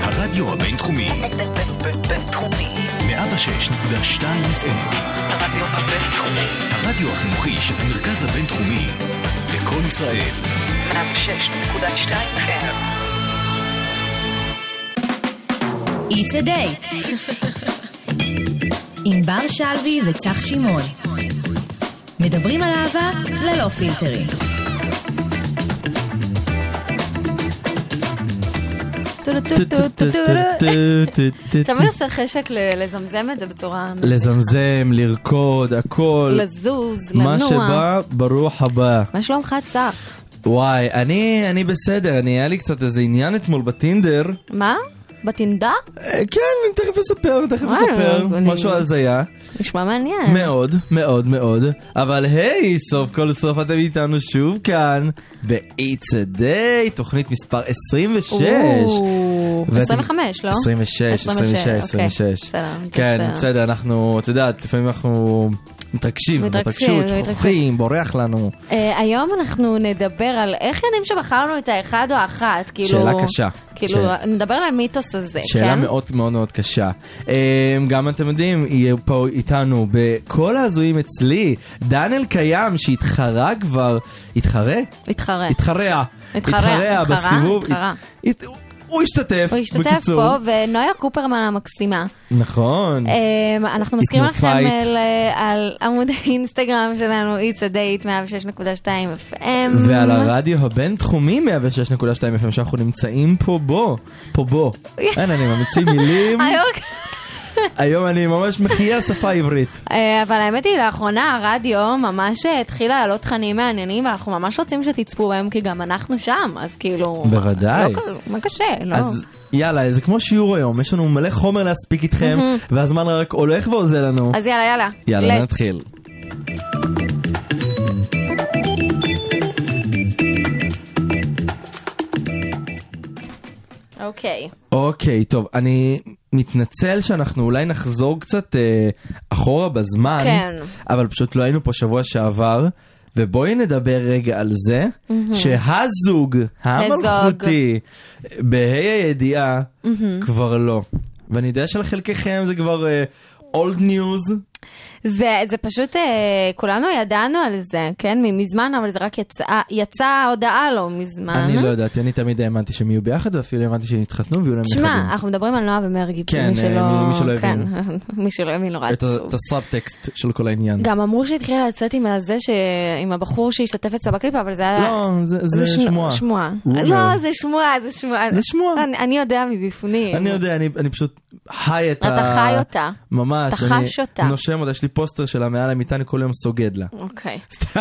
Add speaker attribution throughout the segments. Speaker 1: הרדיו הבינתחומי,
Speaker 2: בינתחומי.
Speaker 1: 106.2 FM,
Speaker 2: הרדיו הבינתחומי.
Speaker 1: הרדיו החינוכי של המרכז הבינתחומי, לקום ישראל,
Speaker 2: 106.2 FM.
Speaker 3: It's a date. עם בר שלוי וצח שמעון. מדברים על אהבה ללא פילטרים.
Speaker 4: תמיד עושה חשק ל- לזמזם את זה בצורה...
Speaker 5: לזמזם, לרקוד, הכל.
Speaker 4: לזוז, לנוע.
Speaker 5: מה שבא, ברוך הבא.
Speaker 4: מה שלומך צח?
Speaker 5: וואי, אני, אני בסדר, אני, היה לי קצת איזה עניין אתמול בטינדר.
Speaker 4: מה? בטינדה?
Speaker 5: אה, כן, אני תכף אספר, אני תכף
Speaker 4: וואי,
Speaker 5: אספר.
Speaker 4: אני-
Speaker 5: משהו הזיה.
Speaker 4: נשמע מעניין.
Speaker 5: מאוד, מאוד, מאוד. אבל היי, סוף כל סוף אתם איתנו שוב כאן, ב-It's a Day, תוכנית מספר 26.
Speaker 4: או,
Speaker 5: ואתם-
Speaker 4: 25, לא?
Speaker 5: 26, 26,
Speaker 4: 26, אוקיי.
Speaker 5: 26.
Speaker 4: בסדר,
Speaker 5: כן,
Speaker 4: בסדר.
Speaker 5: בסדר, אנחנו, את יודעת, לפעמים אנחנו מתרגשים,
Speaker 4: מתרגשים,
Speaker 5: התרגשות,
Speaker 4: מתרגשים.
Speaker 5: שוכחים, בורח לנו.
Speaker 4: אה, היום אנחנו נדבר על איך יודעים שבחרנו את האחד או האחת, כאילו...
Speaker 5: שאלה קשה.
Speaker 4: כאילו,
Speaker 5: ש-
Speaker 4: נדבר על המיתוס הזה,
Speaker 5: שאלה
Speaker 4: כן?
Speaker 5: מאוד מאוד מאוד קשה. אה, גם אתם יודעים, יהיה פה איתנו בכל ההזויים אצלי, דן אלקיים שהתחרה כבר, התחרה?
Speaker 4: התחרה.
Speaker 5: התחרע.
Speaker 4: כן. התחרע,
Speaker 5: התחרע
Speaker 4: התחרה,
Speaker 5: בסיבוב.
Speaker 4: התחרה.
Speaker 5: הת- הוא- הוא השתתף,
Speaker 4: הוא השתתף
Speaker 5: בקיצור.
Speaker 4: פה, ונויה קופרמן המקסימה.
Speaker 5: נכון.
Speaker 4: אמ, אנחנו מזכירים לכם
Speaker 5: התנופית.
Speaker 4: על, אה, על עמוד האינסטגרם שלנו, it's a date 106.2 FM.
Speaker 5: ועל הרדיו הבינתחומי 106.2 FM שאנחנו נמצאים פה בו, פה בו. אין, אני ממציא מילים.
Speaker 4: היום-
Speaker 5: היום אני ממש מחיה שפה עברית.
Speaker 4: אה, אבל האמת היא, לאחרונה הרדיו ממש אה, התחיל להעלות תכנים מעניינים, ואנחנו ממש רוצים שתצפו בהם, כי גם אנחנו שם, אז כאילו... מה-
Speaker 5: בוודאי.
Speaker 4: לא כל- מה קשה, לא.
Speaker 5: אז יאללה, זה כמו שיעור היום, יש לנו מלא חומר להספיק איתכם, והזמן רק הולך ואוזל לנו.
Speaker 4: אז יאללה, יאללה.
Speaker 5: יאללה,
Speaker 4: let's.
Speaker 5: נתחיל.
Speaker 4: אוקיי.
Speaker 5: אוקיי, טוב, אני מתנצל שאנחנו אולי נחזור קצת אה, אחורה בזמן,
Speaker 4: כן.
Speaker 5: אבל פשוט לא היינו פה שבוע שעבר, ובואי נדבר רגע על זה, שהזוג המלכותי בה"א הידיעה כבר לא. ואני יודע שלחלקכם זה כבר אה, old news,
Speaker 4: זה, זה פשוט, אה, כולנו ידענו על זה, כן? מזמן, אבל זה רק יצאה יצא הודעה לא מזמן.
Speaker 5: אני לא יודעת, אני תמיד האמנתי שהם יהיו ביחד, ואפילו האמנתי שהם יתחתנו ויהיו להם
Speaker 4: תשמע,
Speaker 5: נכדים.
Speaker 4: אנחנו מדברים על נועה ומרגי,
Speaker 5: כן,
Speaker 4: מי
Speaker 5: אה,
Speaker 4: שלא...
Speaker 5: מי- מי שלא
Speaker 4: כן,
Speaker 5: הבין.
Speaker 4: מי שלא הבין נורא
Speaker 5: את ה-
Speaker 4: עצוב.
Speaker 5: את הסאבטקסט של כל העניין.
Speaker 4: גם אמרו שהתחילה לצאת עם הזה, ש... עם הבחור שהשתתף אצלה בקליפ, אבל זה היה...
Speaker 5: לא, זה- זה
Speaker 4: שנ-
Speaker 5: שמועה.
Speaker 4: שמועה.
Speaker 5: הוא אומר.
Speaker 4: לא, זה שמועה, זה שמועה.
Speaker 5: זה שמועה.
Speaker 4: אני, אני יודע מבפנים.
Speaker 5: אני יודע, אני, אני פשוט חי את ה...
Speaker 4: כן. אתה חי אותה.
Speaker 5: ממש.
Speaker 4: אתה
Speaker 5: אני
Speaker 4: חש אותה.
Speaker 5: נושם אותה, יש לי פוסטר שלה מעל המיטה, אני כל יום סוגד לה.
Speaker 4: אוקיי.
Speaker 5: סתם.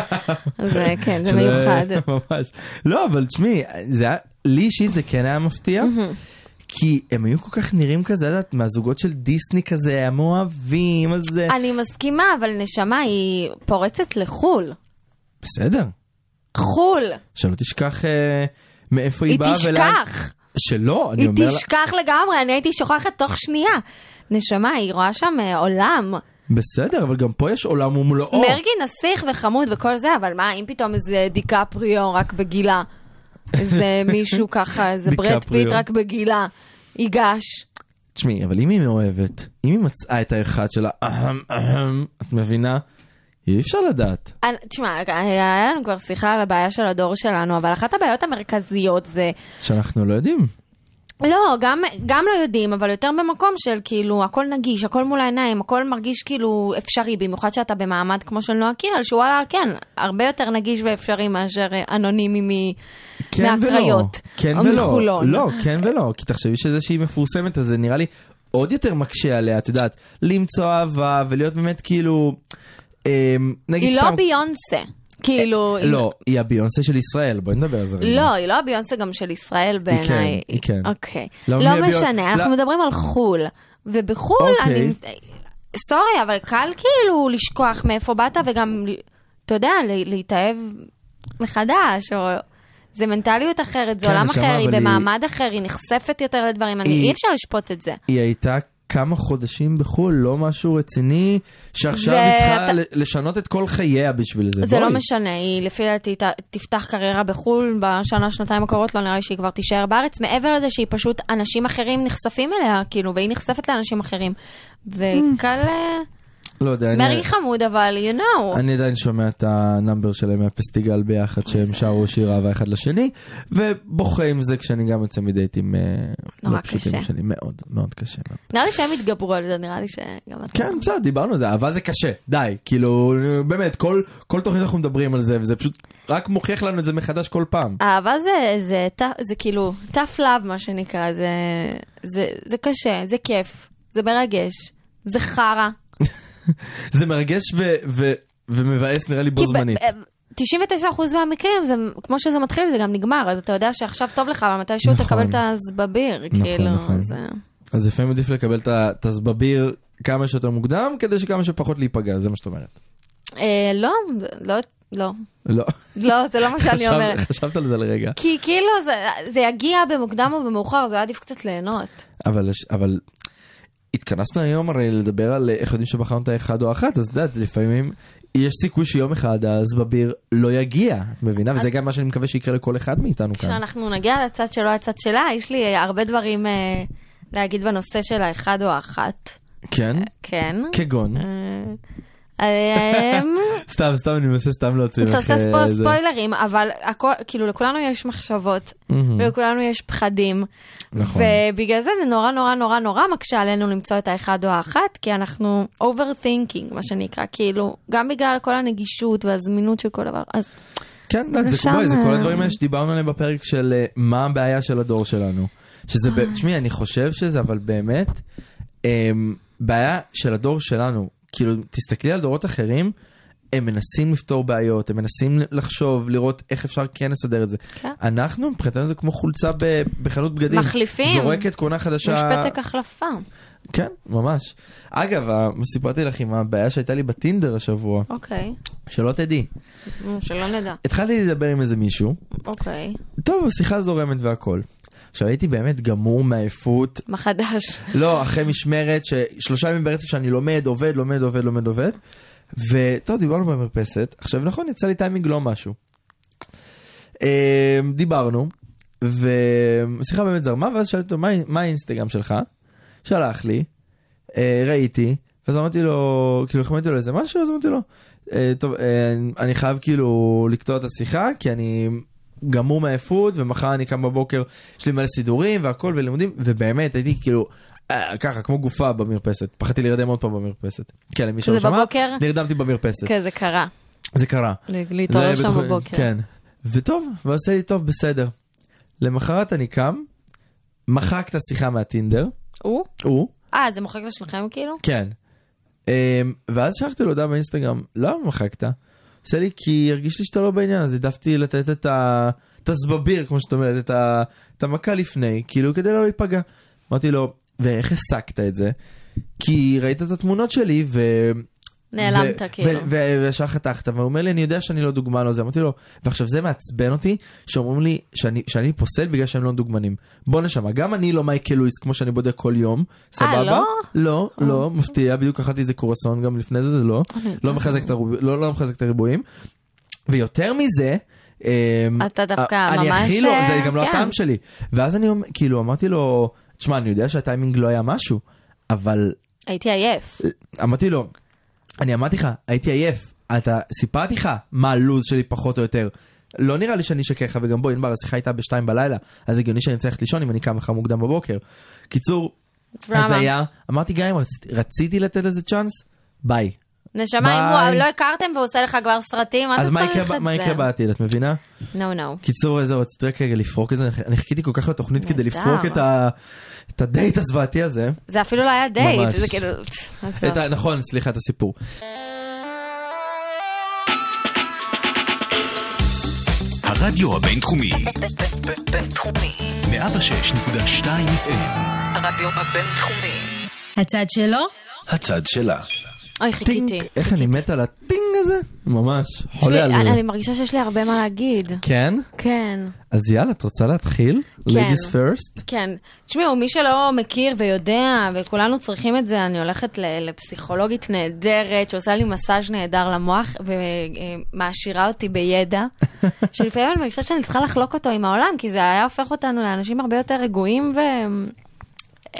Speaker 4: זה כן, זה
Speaker 5: שזה-
Speaker 4: מיוחד.
Speaker 5: ממש. לא, אבל תשמעי, זה היה, לי אישית זה כן היה מפתיע. כי הם היו כל כך נראים כזה, את יודעת, מהזוגות של דיסני כזה, הם אוהבים, אז זה...
Speaker 4: אני מסכימה, אבל נשמה היא פורצת לחו"ל.
Speaker 5: בסדר,
Speaker 4: חו"ל.
Speaker 5: שלא תשכח אה, מאיפה היא
Speaker 4: היא
Speaker 5: באה ולאן...
Speaker 4: תשכח.
Speaker 5: שלא, אני
Speaker 4: היא
Speaker 5: אומר לה...
Speaker 4: תשכח לגמרי, אני הייתי שוכחת תוך שנייה. נשמה, היא רואה שם אה, עולם.
Speaker 5: בסדר, אבל גם פה יש עולם ומלואו.
Speaker 4: מרגי נסיך וחמוד וכל זה, אבל מה, אם פתאום איזה דיקפריו רק בגילה, איזה מישהו ככה, איזה ברד פיט
Speaker 5: דיקפריו.
Speaker 4: רק בגילה, ייגש.
Speaker 5: תשמעי, אבל אם היא מאוהבת, אם היא מצאה את האחד שלה, אהם, אהם, את מבינה? אי אפשר לדעת.
Speaker 4: אני- תשמע, אה, היה לנו כבר שיחה על הבעיה של הדור שלנו, אבל אחת הבעיות המרכזיות זה,
Speaker 5: שאנחנו לא יודעים.
Speaker 4: לא, גם, גם לא יודעים, אבל יותר במקום של כאילו, הכל נגיש, הכל מול העיניים, הכל מרגיש כאילו אפשרי, במיוחד שאתה במעמד כמו של נועה קירל, שוואלה, כן, הרבה יותר נגיש ואפשרי מאשר אה, אנונימי מ...
Speaker 5: כן ולא.
Speaker 4: מהקריות.
Speaker 5: כן
Speaker 4: או
Speaker 5: ולא.
Speaker 4: מחולון.
Speaker 5: לא, כן ולא. כי תחשבי שזה שהיא מפורסמת, אז זה נראה לי עוד יותר מקשה עליה, את יודעת, למצוא אהבה ולהיות באמת כאילו... אמ, נגיד
Speaker 4: היא
Speaker 5: סתם-
Speaker 4: לא ביונסה. כאילו, היא-
Speaker 5: לא, היא הביונסה של ישראל, בואי נדבר על זה רגע.
Speaker 4: לא, היא לא הביונסה גם של ישראל בעיניי.
Speaker 5: היא כן.
Speaker 4: אוקיי.
Speaker 5: לא, מי
Speaker 4: לא
Speaker 5: הביונ-
Speaker 4: משנה, אנחנו
Speaker 5: לא.
Speaker 4: מדברים על חו"ל. ובחו"ל
Speaker 5: אוקיי.
Speaker 4: אני... סורי, אבל קל כאילו לשכוח מאיפה באת וגם, אתה יודע, ל- להתאהב מחדש, או... זה מנטליות אחרת, זה
Speaker 5: כן,
Speaker 4: עולם
Speaker 5: נשמה,
Speaker 4: אחר, היא
Speaker 5: אבל היא-
Speaker 4: במעמד אחר, היא נחשפת יותר לדברים, אני-
Speaker 5: היא-
Speaker 4: אי אפשר לשפוט את זה.
Speaker 5: היא הייתה כמה חודשים בחו"ל, לא משהו רציני, שעכשיו
Speaker 4: זה-
Speaker 5: היא צריכה
Speaker 4: אתה-
Speaker 5: ל- לשנות את כל חייה בשביל זה.
Speaker 4: זה
Speaker 5: בואי.
Speaker 4: לא משנה, היא לפי דעתי ת- תפתח קריירה בחו"ל בשנה, שנתיים הקרובות, לא נראה לי שהיא כבר תישאר בארץ, מעבר לזה שהיא פשוט, אנשים אחרים נחשפים אליה, כאילו, והיא נחשפת לאנשים אחרים. וקל... אה,
Speaker 5: לא יודע, אני-
Speaker 4: מרי חמוד, אבל you know.
Speaker 5: אני עדיין שומע את הנאמבר שלהם מהפסטיגל
Speaker 4: אה,
Speaker 5: ביחד, שהם שרו שיר אהבה אחד לשני, ובוכה עם זה כשאני גם יוצא מדייטים אה, לא
Speaker 4: נורא
Speaker 5: פשוטים
Speaker 4: קשה.
Speaker 5: שלי. מאוד, מאוד קשה. מאוד.
Speaker 4: נראה לי שהם יתגברו על זה, נראה לי שגם אתה.
Speaker 5: כן, בסדר, דיברנו על זה, אהבה זה קשה, די. כאילו, באמת, כל כל תוכנית אנחנו מדברים על זה, וזה פשוט רק מוכיח לנו את זה מחדש כל פעם.
Speaker 4: אהבה זה, זה, זה, זה כאילו tough love מה שנקרא, זה, זה, זה קשה, זה כיף, זה מרגש, זה חרא.
Speaker 5: זה מרגש ו- ו- ומבאס נראה לי בו
Speaker 4: כי ב- אה,
Speaker 5: זמנית.
Speaker 4: ב- 99% מהמקרים, זה, כמו שזה מתחיל זה גם נגמר, אז אתה יודע שעכשיו טוב לך, אבל מתישהו
Speaker 5: נכון.
Speaker 4: תקבל את הזבביר,
Speaker 5: נכון,
Speaker 4: כאילו,
Speaker 5: נכון.
Speaker 4: זה...
Speaker 5: אז לפעמים עדיף לקבל את ה- את הזבביר כמה שיותר מוקדם, כדי שכמה שפחות להיפגע, זה מה שאת אומרת.
Speaker 4: אה, לא, זה- לא, לא,
Speaker 5: לא,
Speaker 4: לא, זה לא מה שאני
Speaker 5: חשבת-
Speaker 4: אומרת.
Speaker 5: חשבת על זה לרגע.
Speaker 4: כי כאילו זה, זה יגיע במוקדם או במאוחר, אז היה עדיף קצת ליהנות.
Speaker 5: אבל, אבל התכנסנו היום הרי לדבר על אה, איך יודעים שבחרנו את האחד או האחת, אז את יודעת, לפעמים יש סיכוי שיום אחד אז בביר לא יגיע, את מבינה? וזה גם מה שאני מקווה שיקרה לכל אחד מאיתנו כאן.
Speaker 4: כשאנחנו נגיע לצד שלו, הצד שלה, יש לי אה, הרבה דברים אה, להגיד בנושא של האחד או האחת.
Speaker 5: כן?
Speaker 4: כן.
Speaker 5: כגון.
Speaker 4: אה, אה,
Speaker 5: סתם, סתם, אני מנסה סתם להוציא
Speaker 4: אתה עושה
Speaker 5: אה,
Speaker 4: ספו-
Speaker 5: זה.
Speaker 4: ספוילרים, אבל הכל, כאילו לכולנו יש מחשבות,
Speaker 5: מהמם.
Speaker 4: ולכולנו יש פחדים.
Speaker 5: נכון.
Speaker 4: ובגלל זה זה נורא נורא נורא נורא מקשה עלינו למצוא את האחד או האחת, כי אנחנו overthinking, מה שנקרא, כאילו, גם בגלל כל הנגישות והזמינות של כל דבר. אז
Speaker 5: כן, לא, זה,
Speaker 4: ושם,
Speaker 5: בואי, זה כל
Speaker 4: אה,
Speaker 5: הדברים האלה שדיברנו עליהם בפרק של אה, מה הבעיה של הדור שלנו. שזה,
Speaker 4: אה.
Speaker 5: ב- תשמעי, אני חושב שזה, אבל באמת, אמ, בעיה של הדור שלנו. כאילו, תסתכלי על דורות אחרים, הם מנסים לפתור בעיות, הם מנסים לחשוב, לראות איך אפשר כן לסדר את זה.
Speaker 4: כן.
Speaker 5: אנחנו, מבחינתנו זה כמו חולצה ב- בחנות בגדים.
Speaker 4: מחליפים.
Speaker 5: זורקת קונה
Speaker 4: יש
Speaker 5: חדשה.
Speaker 4: פתק החלפה.
Speaker 5: כן, ממש. אגב, ה- סיפרתי לך עם הבעיה שהייתה לי בטינדר השבוע,
Speaker 4: אוקיי,
Speaker 5: שלא תדעי.
Speaker 4: נו, שלא נדע.
Speaker 5: התחלתי לדבר עם איזה מישהו,
Speaker 4: אוקיי,
Speaker 5: טוב, השיחה זורמת והכל. עכשיו הייתי באמת גמור מעייפות,
Speaker 4: מה חדש?
Speaker 5: לא, אחרי משמרת ששלושה ימים ברצף שאני לומד, עובד, לומד, עובד, לומד, עובד. וטוב, דיברנו במרפסת. עכשיו נכון, יצא לי טיימינג לא משהו. אה, דיברנו, והשיחה באמת זרמה, ואז שאלתי אותו, "מה- מה האינסטגרם שלך? שלח לי, אה, ראיתי, ואז אמרתי לו, כאילו החמאתי לו איזה משהו, אז אמרתי לו, "אה, טוב, אה, אני חייב כאילו לקטוע את השיחה, כי אני גמור מעייפות, ומחר אני קם בבוקר, יש לי מלא סידורים והכל ולימודים, ובאמת הייתי כאילו... אה, ככה כמו גופה במרפסת פחדתי להירדם עוד פעם במרפסת כן למי שלא
Speaker 4: כזה
Speaker 5: שמע
Speaker 4: בבוקר?
Speaker 5: נרדמתי במרפסת
Speaker 4: כן, זה קרה.
Speaker 5: זה קרה
Speaker 4: להתעורר
Speaker 5: זה
Speaker 4: שם
Speaker 5: בטח-
Speaker 4: בבוקר.
Speaker 5: כן. וטוב, ועושה לי טוב, בסדר. למחרת אני קם, מחק את השיחה מהטינדר,
Speaker 4: הוא?
Speaker 5: הוא,
Speaker 4: אה, זה מוחק לשלכם כאילו?
Speaker 5: כן. אמ, ואז שלחתי לו הודעה באינסטגרם, למה מחקת? עושה לי כי הרגיש לי שאתה לא בעניין, אז העדפתי לתת את ה... את הזבביר, כמו שאת אומרת, את, ה... את המכה לפני, כאילו כדי לא להיפגע. אמרתי לו, ואיך הסקת את זה? כי ראית את התמונות שלי ו...
Speaker 4: נעלמת
Speaker 5: ו-
Speaker 4: כאילו.
Speaker 5: ו- ו- וישר חתכת, והוא אומר לי, אני יודע שאני לא דוגמן או זה. אמרתי לו, ועכשיו זה מעצבן אותי, שאומרים לי שאני, שאני פוסל בגלל שהם לא דוגמנים. בוא נשמע, גם אני לא מייקל לואיס כמו שאני בודק כל יום, סבבה?
Speaker 4: לא?
Speaker 5: לא, לא, מפתיע, בדיוק אכלתי איזה קורסון גם לפני זה, זה לא.
Speaker 4: אה,
Speaker 5: לא מחזק את הרוב- לא- לא מחזק את הריבועים. ויותר מזה, אמ,
Speaker 4: אתה דווקא
Speaker 5: אני
Speaker 4: ממש,
Speaker 5: הכי לא, זה
Speaker 4: אה,
Speaker 5: גם לא
Speaker 4: כן.
Speaker 5: הטעם שלי. ואז אני אומר- כאילו אמרתי לו, תשמע, אני יודע שהטיימינג לא היה משהו, אבל
Speaker 4: הייתי עייף.
Speaker 5: אמרתי לו, אני אמרתי לך, הייתי עייף, אתה, סיפרתי לך מה הלו"ז שלי פחות או יותר. לא נראה לי שאני אשקר לך, וגם בוא, ענבר, השיחה הייתה בשתיים בלילה, אז הגיוני שאני צריך לישון אם אני קם לך מוקדם בבוקר. קיצור, אז
Speaker 4: דרמה.
Speaker 5: היה, אמרתי גם אם רצ- רציתי לתת לזה צ'אנס, ביי.
Speaker 4: נשמה, אם
Speaker 5: ביי.
Speaker 4: הוא לא הכרתם והוא עושה לך כבר סרטים, מה אתה
Speaker 5: אז מה
Speaker 4: צריך את זה?
Speaker 5: יקרה ב- מה יקרה בעתיד, את מבינה?
Speaker 4: נו, נו.
Speaker 5: קיצור, זהו, רציתי רק רגע לפרוק את זה, אני- אני חיכיתי כל כך לתוכנית כדי
Speaker 4: נהדר.
Speaker 5: לפרוק את ה- את הדייט הזוועתי הזה.
Speaker 4: זה אפילו לא היה דייט,
Speaker 5: ממש.
Speaker 4: זה כאילו... עזוב.
Speaker 5: את ה- נכון, סליחה, את הסיפור.
Speaker 1: הרדיו הבינתחומי,
Speaker 2: בינתחומי,
Speaker 1: 106.2 FM,
Speaker 2: הרדיו הבינתחומי,
Speaker 3: הצד שלו,
Speaker 1: הצד שלה.
Speaker 4: אוי, חיכיתי.
Speaker 5: טינק, איך אני מת על הטינג הזה? זה? ממש,
Speaker 4: יש לי-
Speaker 5: חולה על
Speaker 4: אני-
Speaker 5: זה.
Speaker 4: אני מרגישה שיש לי הרבה מה להגיד.
Speaker 5: כן?
Speaker 4: כן.
Speaker 5: אז יאללה, את רוצה להתחיל? Ladies first?
Speaker 4: כן. תשמעו, מי שלא מכיר ויודע, וכולנו צריכים את זה, אני הולכת ל- לפסיכולוגית נהדרת, שעושה לי מסאז' נהדר למוח, ומעשירה אותי בידע, שלפעמים אני מרגישה שאני צריכה לחלוק אותו עם העולם, כי זה היה הופך אותנו לאנשים הרבה יותר רגועים ו...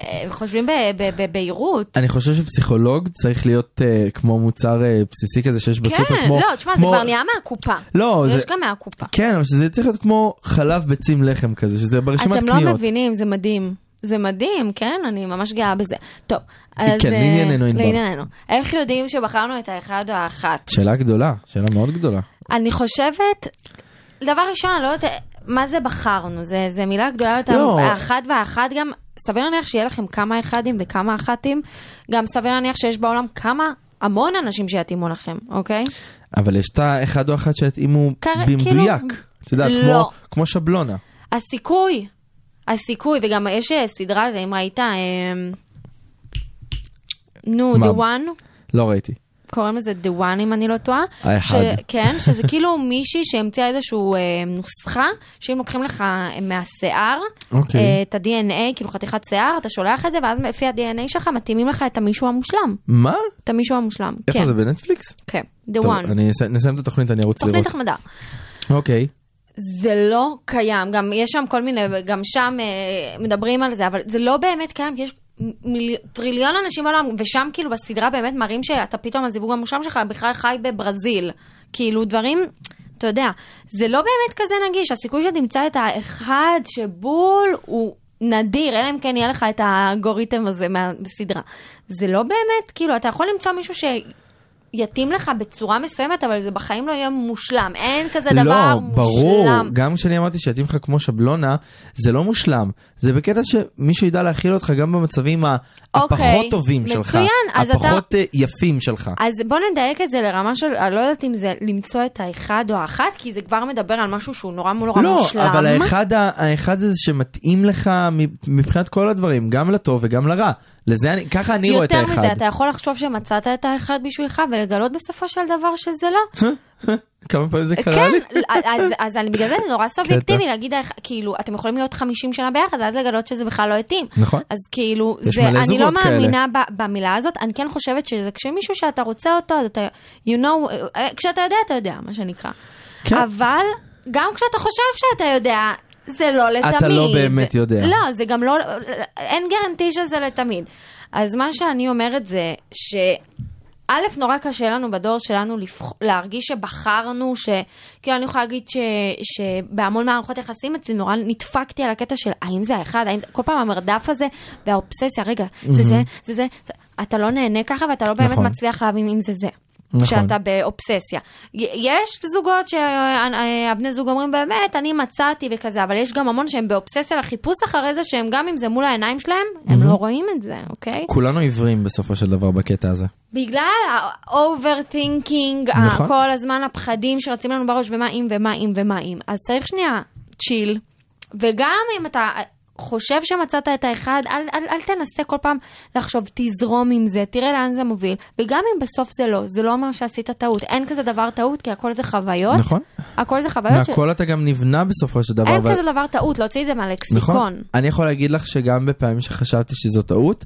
Speaker 4: אה, חושבים ב- ב- בבהירות.
Speaker 5: אני חושב שפסיכולוג צריך להיות אה, כמו מוצר אה, בסיסי כזה שיש בסופר
Speaker 4: כן,
Speaker 5: כמו...
Speaker 4: לא, תשמע, זה
Speaker 5: כמו-
Speaker 4: כבר נהיה מהקופה.
Speaker 5: לא,
Speaker 4: יש
Speaker 5: זה...
Speaker 4: גם מהקופה.
Speaker 5: כן, אבל שזה צריך להיות כמו חלב ביצים לחם כזה, שזה ברשימת
Speaker 4: אתם לא
Speaker 5: קניות.
Speaker 4: מבינים, זה מדהים. זה מדהים, כן? אני ממש גאה בזה. טוב, אז...
Speaker 5: כן,
Speaker 4: אה,
Speaker 5: לענייננו, ענבר.
Speaker 4: לענייננו. איך יודעים שבחרנו את האחד או האחת?
Speaker 5: שאלה גדולה, שאלה מאוד גדולה.
Speaker 4: אני חושבת, דבר ראשון, אני לא יודעת מה זה בחרנו, זה, זה מילה גדולה יותר,
Speaker 5: לא.
Speaker 4: האחד והאחת גם, סביר להניח שיהיה לכם כמה אחדים וכמה אחתים, גם סביר להניח שיש בעולם כמה, המון אנשים שיתאימו לכם, אוקיי?
Speaker 5: אבל יש את האחד או אחת שהתאימו
Speaker 4: כר-
Speaker 5: במדויק.
Speaker 4: כאילו-
Speaker 5: את יודעת,
Speaker 4: לא.
Speaker 5: כמו- כמו שבלונה.
Speaker 4: הסיכוי, הסיכוי, וגם יש אה, סדרה, אם ראית, אה, נו,
Speaker 5: מה?
Speaker 4: The One,
Speaker 5: לא ראיתי.
Speaker 4: קוראים לזה The One אם אני לא טועה.
Speaker 5: האחד.
Speaker 4: ש- כן, שזה כאילו מישהי שהמציאה איזושהי נוסחה, שאם לוקחים לך אה, מהשיער,
Speaker 5: אוקיי.
Speaker 4: אה, את ה-DNA, כאילו חתיכת שיער, אתה שולח את זה, ואז לפי ה-DNA שלך מתאימים לך את המישהו המושלם.
Speaker 5: מה?
Speaker 4: את המישהו המושלם.
Speaker 5: איפה
Speaker 4: כן,
Speaker 5: זה, בנטפליקס?
Speaker 4: כן, The
Speaker 5: טוב,
Speaker 4: One.
Speaker 5: אני אסי- נסיים את התוכנית, אני ארוץ לראות.
Speaker 4: תוכנית החמדה.
Speaker 5: אוקיי.
Speaker 4: זה לא קיים, גם יש שם כל מיני, גם שם אה, מדברים על זה, אבל זה לא באמת קיים, כי יש מיל... טריליון אנשים בעולם, ושם כאילו בסדרה באמת מראים שאתה פתאום, הזיווג המושלם שלך בכלל חי בברזיל. כאילו דברים, אתה יודע, זה לא באמת כזה נגיש, הסיכוי שתמצא את האחד שבול הוא נדיר, אלא אם כן יהיה לך את האלגוריתם הזה מהסדרה. זה לא באמת, כאילו, אתה יכול למצוא מישהו ש... יתאים לך בצורה מסוימת, אבל זה בחיים לא יהיה מושלם. אין כזה דבר
Speaker 5: לא,
Speaker 4: מושלם.
Speaker 5: ברור. גם כשאני אמרתי שיתאים לך כמו שבלונה, זה לא מושלם. זה בקטע שמישהו ידע להכיל אותך גם במצבים ה-
Speaker 4: אוקיי,
Speaker 5: הפחות טובים שלך.
Speaker 4: מצוין, אז אתה-
Speaker 5: הפחות אה, יפים שלך.
Speaker 4: אז בוא נדייק את זה לרמה של, אני לא יודעת אם זה למצוא את האחד או האחת, כי זה כבר מדבר על משהו שהוא נורא נורא
Speaker 5: לא,
Speaker 4: מושלם.
Speaker 5: אבל האחד, ה- האחד זה שמתאים לך מ- מבחינת כל הדברים, גם לטוב וגם לרע. לזה אני, ככה אני רואה את
Speaker 4: יותר מזה,
Speaker 5: האחד.
Speaker 4: אתה יכול לחשוב שמצאת את האחד בשבילך ולגלות בסופו של דבר שזה לא.
Speaker 5: כמה פעמים זה קרה
Speaker 4: כן,
Speaker 5: לי?
Speaker 4: אז, אז אני, בגלל זה זה נורא סובייקטיבי להגיד, האח- כאילו, אתם יכולים להיות 50 שנה ביחד, ואז לגלות שזה בכלל לא התאים.
Speaker 5: נכון.
Speaker 4: אז כאילו,
Speaker 5: יש
Speaker 4: זה,
Speaker 5: מלא
Speaker 4: אני לא
Speaker 5: זוגות כאלה.
Speaker 4: מאמינה ב, במילה הזאת, אני כן חושבת שזה כשמישהו שאתה רוצה אותו, אז אתה, you know, אה, כשאתה יודע, אתה יודע, מה שנקרא.
Speaker 5: כן.
Speaker 4: אבל גם כשאתה חושב שאתה יודע, זה לא לתמיד.
Speaker 5: לא באמת יודע.
Speaker 4: לא, זה גם לא, אין גרנטי שזה לתמיד. אז מה שאני אומרת זה ש... א', נורא קשה לנו בדור שלנו לבח... להרגיש שבחרנו, ש... כאילו אני יכולה להגיד ש... שבהמון מערכות יחסים אצלי נורא נדפקתי על הקטע של האם זה האחד, האם זה... כל פעם המרדף הזה והאובססיה, רגע, זה זה, זה זה, זה- אתה לא נהנה ככה ואתה לא באמת
Speaker 5: נכון.
Speaker 4: מצליח להבין אם זה זה.
Speaker 5: נכון.
Speaker 4: שאתה באובססיה. י- יש זוגות שהבני זוג אומרים באמת, אני מצאתי וכזה, אבל יש גם המון שהם באובססיה לחיפוש אחרי זה, שהם גם אם זה מול העיניים שלהם, הם לא רואים את זה, אוקיי?
Speaker 5: כולנו עיוורים בסופו של דבר בקטע הזה.
Speaker 4: בגלל האוברתינקינג,
Speaker 5: נכון.
Speaker 4: כל הזמן הפחדים שרצים לנו בראש, ומה אם, ומה אם, ומה אם. אז צריך שנייה צ'יל, וגם אם אתה חושב שמצאת את האחד, אל, אל, אל תנסה כל פעם לחשוב, תזרום עם זה, תראה לאן זה מוביל. וגם אם בסוף זה לא, זה לא אומר שעשית טעות. אין כזה דבר טעות, כי הכל זה חוויות.
Speaker 5: נכון.
Speaker 4: הכל זה חוויות.
Speaker 5: מהכל אתה גם נבנה בסופו של דבר.
Speaker 4: אין
Speaker 5: אבל-
Speaker 4: כזה דבר טעות, להוציא את זה מהלקסיקון.
Speaker 5: נכון. אני יכול להגיד לך שגם בפעמים שחשבתי שזו טעות,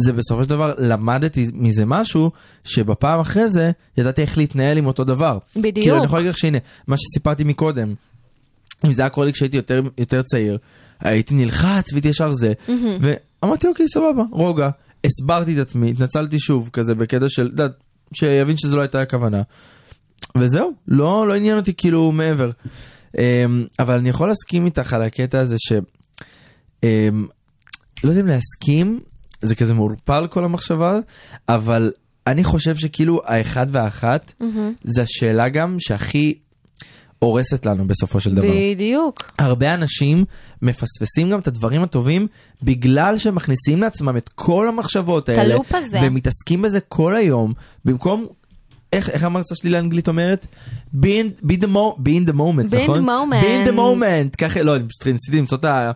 Speaker 5: זה בסופו של דבר למדתי מזה משהו, שבפעם אחרי זה ידעתי איך להתנהל עם אותו דבר.
Speaker 4: בדיוק.
Speaker 5: כאילו אני יכול להגיד לך שהנה, מה שסיפרתי מקודם, אם זה היה קורה לי כשהייתי יותר, יותר צעיר, הייתי נלחץ והייתי ישר זה, ואמרתי אוקיי סבבה, רוגע, הסברתי את עצמי, התנצלתי שוב כזה בקטע של, את יודעת, שיבין שזו לא הייתה הכוונה. וזהו, לא, לא עניין אותי כאילו מעבר. אמ, אבל אני יכול להסכים איתך על הקטע הזה ש... אמ, לא יודע אם להסכים, זה כזה מעורפל כל המחשבה, אבל אני חושב שכאילו האחד והאחת, זה השאלה גם שהכי הורסת לנו בסופו של דבר.
Speaker 4: בדיוק.
Speaker 5: הרבה אנשים מפספסים גם את הדברים הטובים בגלל שהם מכניסים לעצמם את כל המחשבות האלה.
Speaker 4: הלופ הזה.
Speaker 5: ומתעסקים בזה כל היום, במקום... איך, איך המרצה שלי לאנגלית אומרת? Be in, be the, mo, be in the moment,
Speaker 4: Be in
Speaker 5: נכון?
Speaker 4: the moment.
Speaker 5: Be in the moment. ככה, לא, אני פשוט ניסיתי למצוא את ה-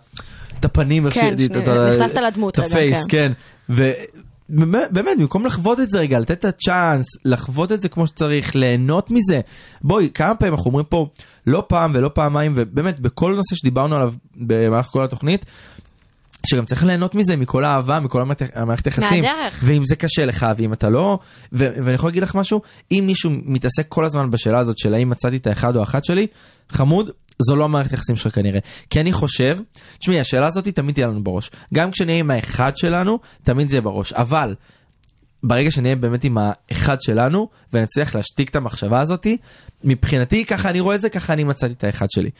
Speaker 5: את הפנים, איך
Speaker 4: כן,
Speaker 5: ש- את ה-
Speaker 4: נכנסת לדמות
Speaker 5: את
Speaker 4: רגע,
Speaker 5: הפייס,
Speaker 4: כן.
Speaker 5: כן. ו... באמת, באמת, במקום לחוות את זה רגע, לתת את הצ'אנס, לחוות את זה כמו שצריך, ליהנות מזה. בואי, כמה פעמים אנחנו אומרים פה, לא פעם ולא פעמיים, ובאמת, בכל נושא שדיברנו עליו במהלך כל התוכנית, שגם צריך ליהנות מזה, מכל האהבה, מכל המערכת- המערכת יחסים.
Speaker 4: מהדרך.
Speaker 5: ואם זה קשה לך, ואם אתה לא, ו- ואני יכול להגיד לך משהו, אם מישהו מתעסק כל הזמן בשאלה הזאת של האם מצאתי את האחד או האחת שלי, חמוד, זו לא המערכת יחסים שלך כנראה. כי אני חושב, תשמעי, השאלה הזאת היא תמיד תהיה לנו בראש. גם כשנהיה עם האחד שלנו, תמיד זה יהיה בראש. אבל, ברגע שנהיה באמת עם האחד שלנו, ונצליח להשתיק את המחשבה הזאתי, מבחינתי, ככה אני רואה את זה, ככה אני מצאתי את האחד שלי.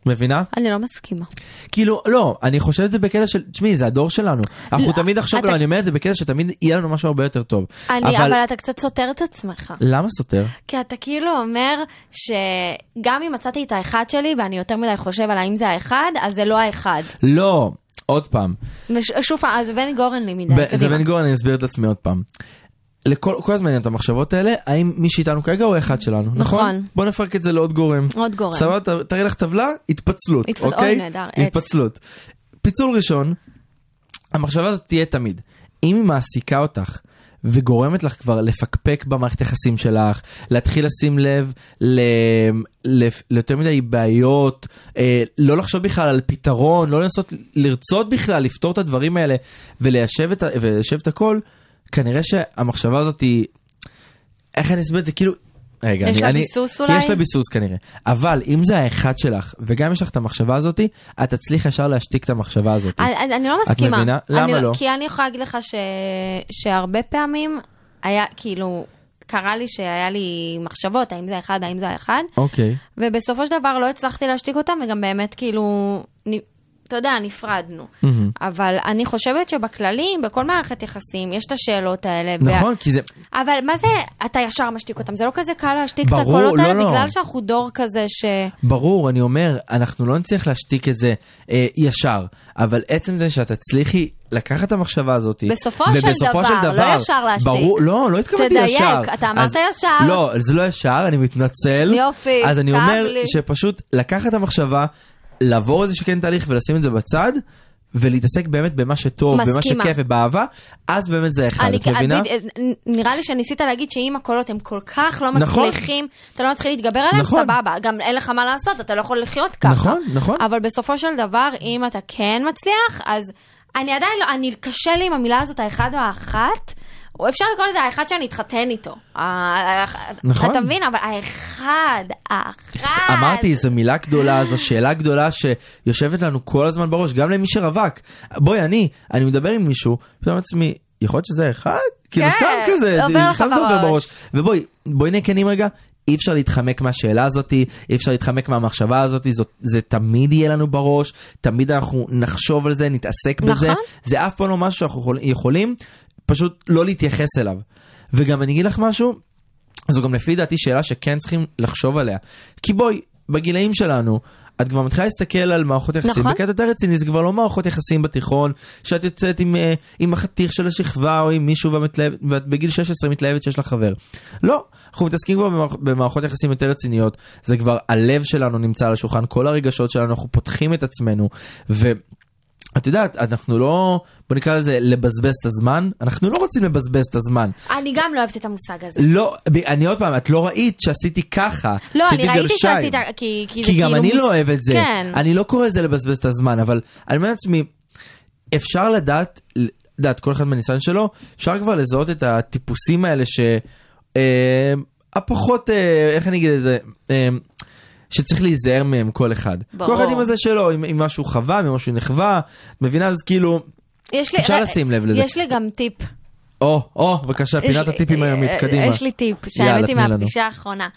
Speaker 5: את מבינה?
Speaker 4: אני לא מסכימה.
Speaker 5: כאילו, לא, אני חושב את זה בקטע של, תשמעי, זה הדור שלנו. אנחנו
Speaker 4: לא,
Speaker 5: תמיד עכשיו,
Speaker 4: אתה-
Speaker 5: לא, אני אומר את זה בקטע שתמיד יהיה לנו משהו הרבה יותר טוב.
Speaker 4: אני, אבל... אבל אתה קצת סותר את עצמך.
Speaker 5: למה סותר?
Speaker 4: כי אתה כאילו אומר שגם אם מצאתי את האחד שלי ואני יותר מדי חושב על האם זה האחד, אז זה לא האחד.
Speaker 5: לא, עוד פעם.
Speaker 4: ושוב פעם, אז זה בן גורן לי מדי,
Speaker 5: ב- זה
Speaker 4: קדימה.
Speaker 5: בן גורן, אני אסביר את עצמי עוד פעם. לכל כל הזמן את המחשבות האלה, האם מי שאיתנו כרגע הוא האחד שלנו, נכון?
Speaker 4: נכון.
Speaker 5: בוא נפרק את זה לעוד גורם.
Speaker 4: עוד גורם.
Speaker 5: סבבה, ת- תראי לך טבלה, התפצלות,
Speaker 4: התפצ- אוי,
Speaker 5: אוקיי?
Speaker 4: נהדר, עץ.
Speaker 5: התפצלות. פיצול ראשון, המחשבה הזאת תהיה תמיד. אם היא מעסיקה אותך וגורמת לך כבר לפקפק במערכת היחסים שלך, להתחיל לשים לב ל- ל- ליותר מדי בעיות, אה, לא לחשוב בכלל על פתרון, לא לנסות לרצות בכלל לפתור את הדברים האלה וליישב את, ה- וליישב את הכל, כנראה שהמחשבה הזאת היא... איך אני אסביר את זה? כאילו... רגע,
Speaker 4: יש
Speaker 5: אני,
Speaker 4: לה
Speaker 5: אני,
Speaker 4: ביסוס אולי?
Speaker 5: יש לה ביסוס כנראה. אבל אם זה האחד שלך, וגם יש לך את המחשבה הזאתי, את תצליח ישר להשתיק את המחשבה הזאתי.
Speaker 4: אני, אני- אני לא מסכימה.
Speaker 5: מבינה?
Speaker 4: אני
Speaker 5: למה לא?
Speaker 4: כי אני יכולה להגיד לך ש... שהרבה פעמים היה, כאילו, קרה לי שהיה לי מחשבות, האם זה האחד, האם זה האחד,
Speaker 5: אוקיי.
Speaker 4: ובסופו של דבר לא הצלחתי להשתיק אותם, וגם באמת, כאילו, נ... אתה יודע, נפרדנו.
Speaker 5: מהמם.
Speaker 4: אבל אני חושבת שבכללי, בכל מערכת יחסים, יש את השאלות האלה.
Speaker 5: נכון, כי זה...
Speaker 4: וה... אבל מה זה, אתה ישר משתיק אותם? זה לא כזה קל להשתיק
Speaker 5: ברור,
Speaker 4: את הקולות
Speaker 5: לא,
Speaker 4: האלה,
Speaker 5: לא.
Speaker 4: בגלל שאנחנו דור כזה ש...
Speaker 5: ברור, אני אומר, אנחנו לא נצליח להשתיק את זה אה, ישר, אבל עצם זה שאת תצליחי לקחת את המחשבה הזאת,
Speaker 4: בסופו של
Speaker 5: ובסופו
Speaker 4: דבר, לא ישר להשתיק.
Speaker 5: ברור, לא, לא התכוונתי
Speaker 4: תדייק,
Speaker 5: ישר.
Speaker 4: אתה אמרת
Speaker 5: אז-
Speaker 4: ישר.
Speaker 5: לא, זה לא ישר, אני מתנצל.
Speaker 4: יופי,
Speaker 5: אז אני
Speaker 4: כאב
Speaker 5: אומר
Speaker 4: לי.
Speaker 5: שפשוט לקחת את המחשבה, לעבור איזה שכן תהליך ולשים את זה בצד. ולהתעסק באמת במה שטוב, במה
Speaker 4: מסכימה.
Speaker 5: שכיף ובאהבה, אז באמת זה אחד, את מבינה?
Speaker 4: בד- נראה לי שניסית להגיד שאם הקולות הם כל כך לא
Speaker 5: נכון.
Speaker 4: מצליחים, אתה לא מצליח להתגבר עליהם,
Speaker 5: נכון.
Speaker 4: סבבה, גם אין לך מה לעשות, אתה לא יכול לחיות ככה.
Speaker 5: נכון, נכון.
Speaker 4: אבל בסופו של דבר, אם אתה כן מצליח, אז אני עדיין לא, אני קשה לי עם המילה הזאת, האחד או האחת. או אפשר לקרוא לזה האחד שאני אתחתן איתו. ה-
Speaker 5: נכון.
Speaker 4: אתה מבין? אבל האחד, האחד.
Speaker 5: אמרתי, זו מילה גדולה, זו שאלה גדולה שיושבת לנו כל הזמן בראש, גם למי שרווק. בואי, אני, אני מדבר עם מישהו, פתאום לעצמי, יכול להיות שזה אחד? כאילו
Speaker 4: כן,
Speaker 5: סתם כזה,
Speaker 4: עובר לך
Speaker 5: סתם זה עובר
Speaker 4: בראש.
Speaker 5: בראש. ובואי, בואי נהיה כנים רגע. אי אפשר להתחמק מהשאלה הזאתי, אי אפשר להתחמק מהמחשבה הזאתי, זאת, זה תמיד יהיה לנו בראש, תמיד אנחנו נחשוב על זה, נתעסק בזה,
Speaker 4: נכון.
Speaker 5: זה אף פעם לא משהו שאנחנו יכול- יכולים פשוט לא להתייחס אליו. וגם אני אגיד לך משהו, זו גם לפי דעתי שאלה שכן צריכים לחשוב עליה. כי בואי, בגילאים שלנו, את כבר מתחילה להסתכל על מערכות יחסים,
Speaker 4: נכון.
Speaker 5: בקטע יותר רציני זה כבר לא מערכות יחסים בתיכון, שאת יוצאת עם, אה, עם החתיך של השכבה או עם מישהו ומתלהב- ואת בגיל 16 מתלהבת שיש לך חבר. לא, אנחנו מתעסקים כבר במערכ, במערכות יחסים יותר רציניות, זה כבר הלב שלנו נמצא על השולחן, כל הרגשות שלנו, אנחנו פותחים את עצמנו, ו... את יודעת, אנחנו לא, בוא נקרא לזה לבזבז את הזמן, אנחנו לא רוצים לבזבז את הזמן.
Speaker 4: אני גם לא אוהבת את המושג הזה.
Speaker 5: לא, ב- אני עוד פעם, את לא ראית שעשיתי ככה.
Speaker 4: לא,
Speaker 5: עשיתי
Speaker 4: אני ראיתי
Speaker 5: גרשיים.
Speaker 4: שעשית, כי כי זה
Speaker 5: כי
Speaker 4: כאילו...
Speaker 5: גם אני
Speaker 4: מס-
Speaker 5: לא אוהב את זה.
Speaker 4: כן.
Speaker 5: אני לא קורא לזה לבזבז את הזמן, אבל אני אומר לעצמי, אפשר לדעת, לדעת כל אחד מהניסיון שלו, אפשר כבר לזהות את הטיפוסים האלה ש... אה, הפחות, אה, איך אני אגיד את זה? אה, שצריך להיזהר מהם כל אחד.
Speaker 4: ברור.
Speaker 5: כל אחד עם הזה שלו, עם, עם מה שהוא חווה, עם מה שהוא נחווה, את מבינה? אז כאילו,
Speaker 4: יש לי- אה,
Speaker 5: אפשר לשים לב לזה.
Speaker 4: יש לי גם טיפ.
Speaker 5: או, או, בבקשה,
Speaker 4: יש
Speaker 5: פינת
Speaker 4: לי-
Speaker 5: הטיפים היומית,
Speaker 4: אה,
Speaker 5: קדימה.
Speaker 4: יש לי טיפ,
Speaker 5: יאללה,
Speaker 4: שהאמת היא
Speaker 5: תני לנו.
Speaker 4: מהפגישה האחרונה.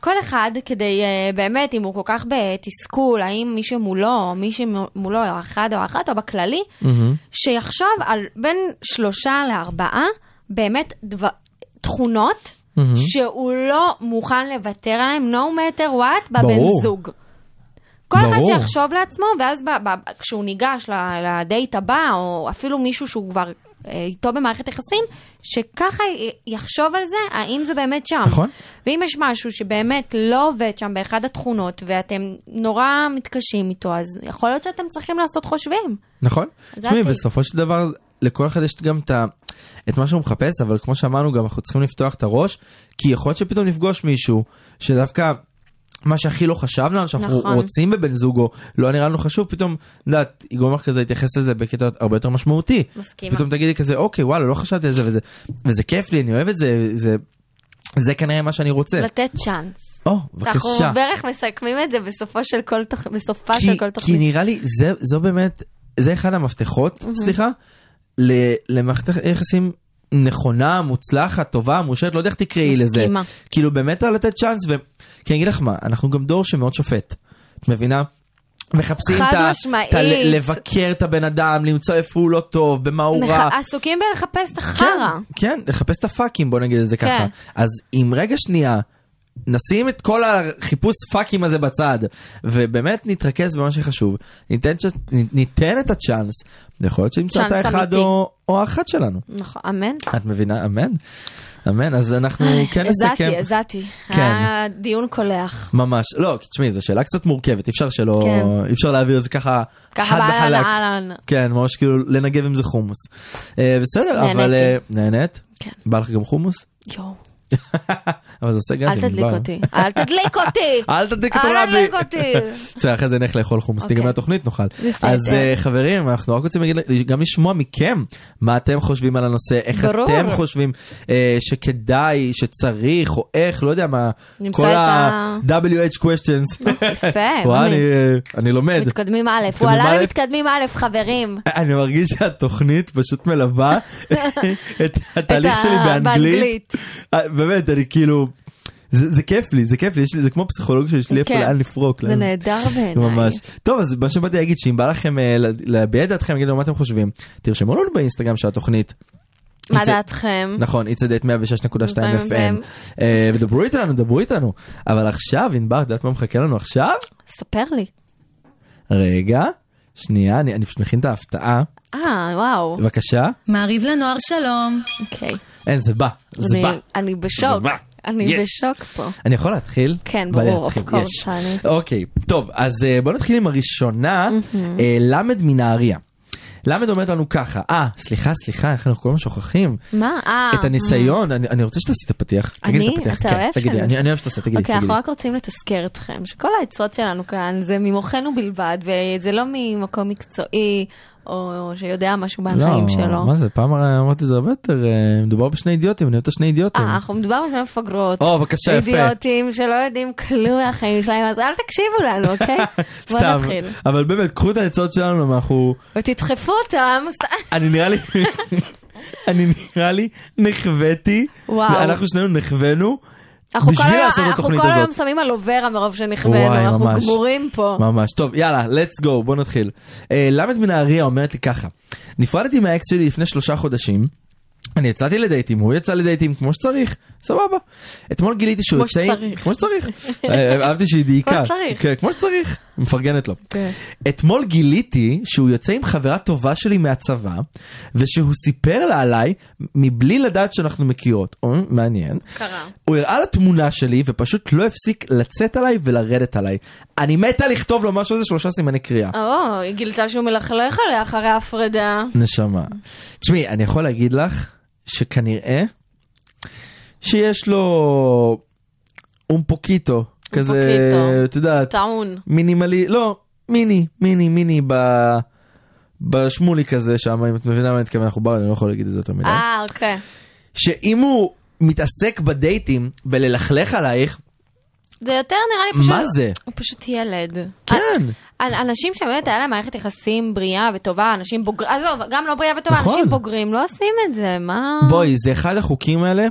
Speaker 4: כל אחד, כדי אה, באמת, אם הוא כל כך בתסכול, האם מי שמולו, או מי שמולו, או אחד או אחת, או בכללי,
Speaker 5: מהמם.
Speaker 4: שיחשוב על בין שלושה לארבעה, באמת, דבר- תכונות
Speaker 5: מהמם.
Speaker 4: שהוא לא מוכן לוותר עליהם, no matter what, בבן
Speaker 5: ברור.
Speaker 4: זוג. כל אחד
Speaker 5: ברור.
Speaker 4: שיחשוב לעצמו, ואז ב, ב, כשהוא ניגש ל- לדייט הבא, או אפילו מישהו שהוא כבר אה, איתו במערכת יחסים, שככה י- יחשוב על זה, האם זה באמת שם.
Speaker 5: נכון.
Speaker 4: ואם יש משהו שבאמת לא עובד שם באחד התכונות, ואתם נורא מתקשים איתו, אז יכול להיות שאתם צריכים לעשות חושבים.
Speaker 5: נכון.
Speaker 4: זה
Speaker 5: תשמעי,
Speaker 4: הטיפ.
Speaker 5: בסופו של דבר, לכל אחד יש גם את, ה... את מה שהוא מחפש, אבל כמו שאמרנו, גם אנחנו צריכים לפתוח את הראש, כי יכול להיות שפתאום נפגוש מישהו שדווקא... מה שהכי לא חשבנו, עליו, שאנחנו
Speaker 4: נכון.
Speaker 5: נכון. רוצים בבן זוג או לא נראה לנו חשוב, פתאום, את יודעת, יגרום לך כזה להתייחס לזה בקטע הרבה יותר משמעותי.
Speaker 4: מסכימה.
Speaker 5: פתאום תגידי כזה, אוקיי, וואלה, לא חשבתי על זה, וזה, וזה כיף לי, אני אוהב את זה, זה, זה כנראה מה שאני רוצה.
Speaker 4: לתת צ'אנס.
Speaker 5: או,
Speaker 4: אנחנו
Speaker 5: כן. בבקשה.
Speaker 4: בערך מסכמים את זה בסופו של כל תוכ... בסופה
Speaker 5: כי,
Speaker 4: של כל תוכנית.
Speaker 5: כי נראה לי זה, זו באמת, זה אחד המפתחות, סליחה, ל- למערכת יחסים נכונה, מוצלחת, טובה, מאושרת, לא יודע איך תקראי לזה.
Speaker 4: מסכימה.
Speaker 5: כאילו באמת לא לתת צ'אנס, ו... כי אני אגיד לך מה, אנחנו גם דור שמאוד שופט, את מבינה? מחפשים
Speaker 4: חד
Speaker 5: את ה...
Speaker 4: משמעית.
Speaker 5: את ה- ל- לבקר את הבן אדם, למצוא איפה הוא לא טוב, במה הוא רע.
Speaker 4: נח- עסוקים בלחפש את החרא.
Speaker 5: כן, לחפש את הפאקים, בוא נגיד את זה ככה.
Speaker 4: כן.
Speaker 5: אז אם רגע שנייה, נשים את כל החיפוש פאקים הזה בצד, ובאמת נתרכז במה שחשוב, ניתן, ש... ניתן את הצ'אנס, יכול להיות שנמצא את
Speaker 4: צ'אנס
Speaker 5: האחד
Speaker 4: אמיתי.
Speaker 5: או, או האחת שלנו.
Speaker 4: נכון, אמן.
Speaker 5: את מבינה? אמן. אמן, אז אנחנו כן נסכם.
Speaker 4: אה, הזעתי, הזעתי.
Speaker 5: כן.
Speaker 4: היה דיון קולח.
Speaker 5: ממש, לא, כי תשמעי, זו שאלה קצת מורכבת, אי אפשר שלא,
Speaker 4: כן.
Speaker 5: אי אפשר להעביר את זה ככה
Speaker 4: ככה
Speaker 5: חד
Speaker 4: באהלן
Speaker 5: וחלק.
Speaker 4: אהלן.
Speaker 5: כן, ממש כאילו לנגב עם זה חומוס. אה, בסדר,
Speaker 4: נהניתי.
Speaker 5: אבל... אה, נהנית?
Speaker 4: כן.
Speaker 5: בא לך גם חומוס?
Speaker 4: יואו,
Speaker 5: אבל זה עושה גזים.
Speaker 4: אל תדליק
Speaker 5: בא.
Speaker 4: אותי. אל תדליק אותי!
Speaker 5: אל תדליק את
Speaker 4: אל
Speaker 5: הרבי.
Speaker 4: תדליק אותי.
Speaker 5: בסדר, אחרי זה נלך לאכול חומוס,
Speaker 4: אוקיי.
Speaker 5: תיגמר התוכנית נאכל.
Speaker 4: בסדר.
Speaker 5: אז אה, חברים, אנחנו רק רוצים להגיד, גם לשמוע מכם מה אתם חושבים על הנושא, איך
Speaker 4: ברור.
Speaker 5: אתם חושבים אה, שכדאי, שצריך, או איך, לא יודע מה,
Speaker 4: נמצא
Speaker 5: כל
Speaker 4: את ה-
Speaker 5: ה-WH questions.
Speaker 4: יפה,
Speaker 5: וואי, אני,
Speaker 4: אני-
Speaker 5: אה, אני לומד.
Speaker 4: מתקדמים א', הוא
Speaker 5: מתקדמים
Speaker 4: עלה
Speaker 5: א'.
Speaker 4: למתקדמים א', חברים.
Speaker 5: אני מרגיש שהתוכנית פשוט מלווה את התהליך
Speaker 4: את ה-
Speaker 5: שלי באנגלית.
Speaker 4: באנגלית.
Speaker 5: אה, באמת, אני כאילו... זה זה כיף לי, זה כיף לי, יש לי- זה כמו פסיכולוג שיש לי איפה
Speaker 4: כן.
Speaker 5: לאן לפרוק.
Speaker 4: זה
Speaker 5: לאן-
Speaker 4: נהדר בעיניי.
Speaker 5: ממש. טוב, אז מה שבאתי להגיד, שאם בא לכם אה, לה- להביע את דעתכם, להגיד לנו מה אתם חושבים, תרשמו לנו באינסטגרם של התוכנית.
Speaker 4: מה
Speaker 5: it's a-
Speaker 4: דעתכם?
Speaker 5: נכון, it's a date 106.2
Speaker 4: FM.
Speaker 5: FM. אה, ודברו איתנו, דברו איתנו. אבל עכשיו, ענבר, את יודעת מה מחכה לנו עכשיו?
Speaker 4: ספר לי.
Speaker 5: רגע, שנייה, אני אני פשוט מכין את ההפתעה.
Speaker 4: אה, וואו.
Speaker 5: בבקשה.
Speaker 3: מעריב לנוער שלום.
Speaker 4: אוקיי.
Speaker 5: אין, זה בא, זה
Speaker 4: אני-
Speaker 5: בא.
Speaker 4: אני
Speaker 5: זה
Speaker 4: בשוק.
Speaker 5: בא.
Speaker 4: אני
Speaker 5: Yes.
Speaker 4: בשוק פה.
Speaker 5: אני יכול להתחיל?
Speaker 4: כן,
Speaker 5: בא לי
Speaker 4: ברור,
Speaker 5: להתחיל,
Speaker 4: of course,
Speaker 5: יש.
Speaker 4: אני-
Speaker 5: אוקיי, טוב, אז אה, בוא נתחיל עם הראשונה, אה, למד מנהריה. למד אומרת לנו ככה, אה, סליחה, סליחה, איך אנחנו כל הזמן שוכחים?
Speaker 4: מה? אה.
Speaker 5: את הניסיון, אני אני רוצה שתעשי את הפתיח. תגידי את
Speaker 4: אני?
Speaker 5: הפתיח,
Speaker 4: אתה
Speaker 5: כן,
Speaker 4: אוהב
Speaker 5: תגידי,
Speaker 4: שאני-
Speaker 5: אני אני אוהב שתעשה, תגידי,
Speaker 4: אוקיי,
Speaker 5: תגידי.
Speaker 4: אנחנו רק רוצים לתזכר אתכם, שכל העצות שלנו כאן זה ממוחנו בלבד, וזה לא ממקום מקצועי, או שיודע משהו
Speaker 5: לא,
Speaker 4: מהחיים שלו.
Speaker 5: מה זה, פעם אמרתי את זה הרבה יותר, אה, מדובר בשני אידיוטים, אני אוהב את השני אידיוטים.
Speaker 4: אה, אנחנו מדובר בשביל מפגרות.
Speaker 5: כן. או, בבקשה, יפה.
Speaker 4: אידיוטים שלא יודעים כלום מהחיים שלהם, אז אל תקשיבו לנו, אוקיי? בוא
Speaker 5: סתם,
Speaker 4: נתחיל.
Speaker 5: אבל באמת, קחו את העצות שלנו, אנחנו...
Speaker 4: ותדחפו אותם,
Speaker 5: אני נראה לי, אני נראה לי נחוויתי,
Speaker 4: וואו.
Speaker 5: אנחנו שנינו נחווינו,
Speaker 4: אנחנו כל
Speaker 5: בשביל
Speaker 4: היום-
Speaker 5: לעשות את
Speaker 4: אנחנו
Speaker 5: התוכנית
Speaker 4: כל
Speaker 5: הזאת.
Speaker 4: היום שמים על אוברה מרוב שנכוונו,
Speaker 5: וואי,
Speaker 4: אנחנו
Speaker 5: ממש.
Speaker 4: גמורים פה.
Speaker 5: ממש. טוב, יאללה, let's go, בוא נתחיל. אה, למד מנהריה אומרת לי ככה, נפרדתי מהאקס שלי לפני שלושה חודשים. אני יצאתי לדייטים, הוא יצא לדייטים כמו שצריך, סבבה. אתמול גיליתי שהוא
Speaker 4: כמו
Speaker 5: יוצא... עם-
Speaker 4: שצריך.
Speaker 5: כמו שצריך. אה, אהבתי שהיא דייקה.
Speaker 4: כמו שצריך.
Speaker 5: כן, כמו שצריך. מפרגנת לו.
Speaker 4: כן.
Speaker 5: אתמול גיליתי שהוא יוצא עם חברה טובה שלי מהצבא, ושהוא סיפר לה עליי מבלי לדעת שאנחנו מכירות. אה, מעניין.
Speaker 4: קרה.
Speaker 5: הוא הראה לה תמונה שלי ופשוט לא הפסיק לצאת עליי ולרדת עליי. אני מתה לכתוב לו משהו איזה שלושה סימני קריאה.
Speaker 4: אה, או, היא גילתה שהוא מלכלך עליה אחרי ההפרדה.
Speaker 5: נשמה. תשמעי, אני יכול להגיד לך שכנראה שיש לו אום פוקיטו. כזה,
Speaker 4: פוקיטו.
Speaker 5: את יודעת,
Speaker 4: טעון.
Speaker 5: מינימלי, לא, מיני, מיני, מיני ב... בשמולי כזה שם, אם את מבינה מה אני מתכוון, אנחנו באנו, אני לא יכול להגיד את זה יותר מדי.
Speaker 4: אה, אוקיי.
Speaker 5: שאם הוא מתעסק בדייטים, בללכלך עלייך,
Speaker 4: זה יותר נראה לי פשוט...
Speaker 5: מה זה?
Speaker 4: הוא פשוט ילד.
Speaker 5: כן.
Speaker 4: אנ- אנשים שבאמת היה להם מערכת יחסים בריאה וטובה, אנשים בוגרים, עזוב, גם לא בריאה וטובה,
Speaker 5: נכון.
Speaker 4: אנשים בוגרים לא עושים את זה, מה...
Speaker 5: בואי, זה אחד החוקים האלה